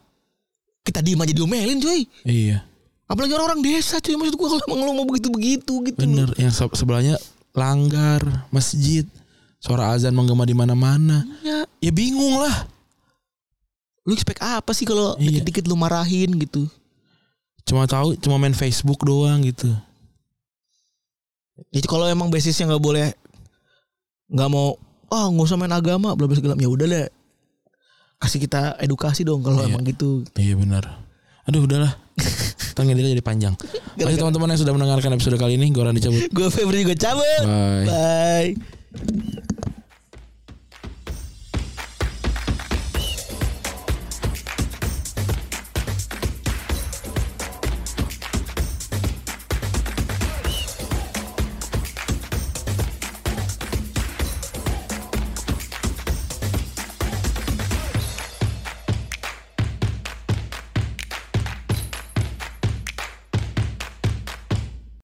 S4: kita diem aja diomelin cuy
S3: iya.
S4: apalagi orang-orang desa cuy maksud gua kalau emang lu mau begitu-begitu gitu
S3: Bener yang se- sebelahnya langgar, masjid, suara azan menggema di mana-mana.
S4: ya
S3: Ya bingung lah.
S4: lu expect apa sih kalau
S3: Iya.
S4: dikit-dikit lu marahin gitu
S3: Cuma tahu cuma main Facebook doang gitu.
S4: jadi kalau emang basisnya nggak boleh nggak mau ah nggak usah main agama bla bla segala ya udah deh kasih kita edukasi dong kalau
S3: Iya.
S4: emang gitu
S3: Iya benar. Aduh udahlah. Tanya dia jadi panjang. Makasih teman-teman yang sudah mendengarkan episode kali ini. Gue Randy cabut.
S4: gue Febri juga cabut
S3: Bye.
S4: bye.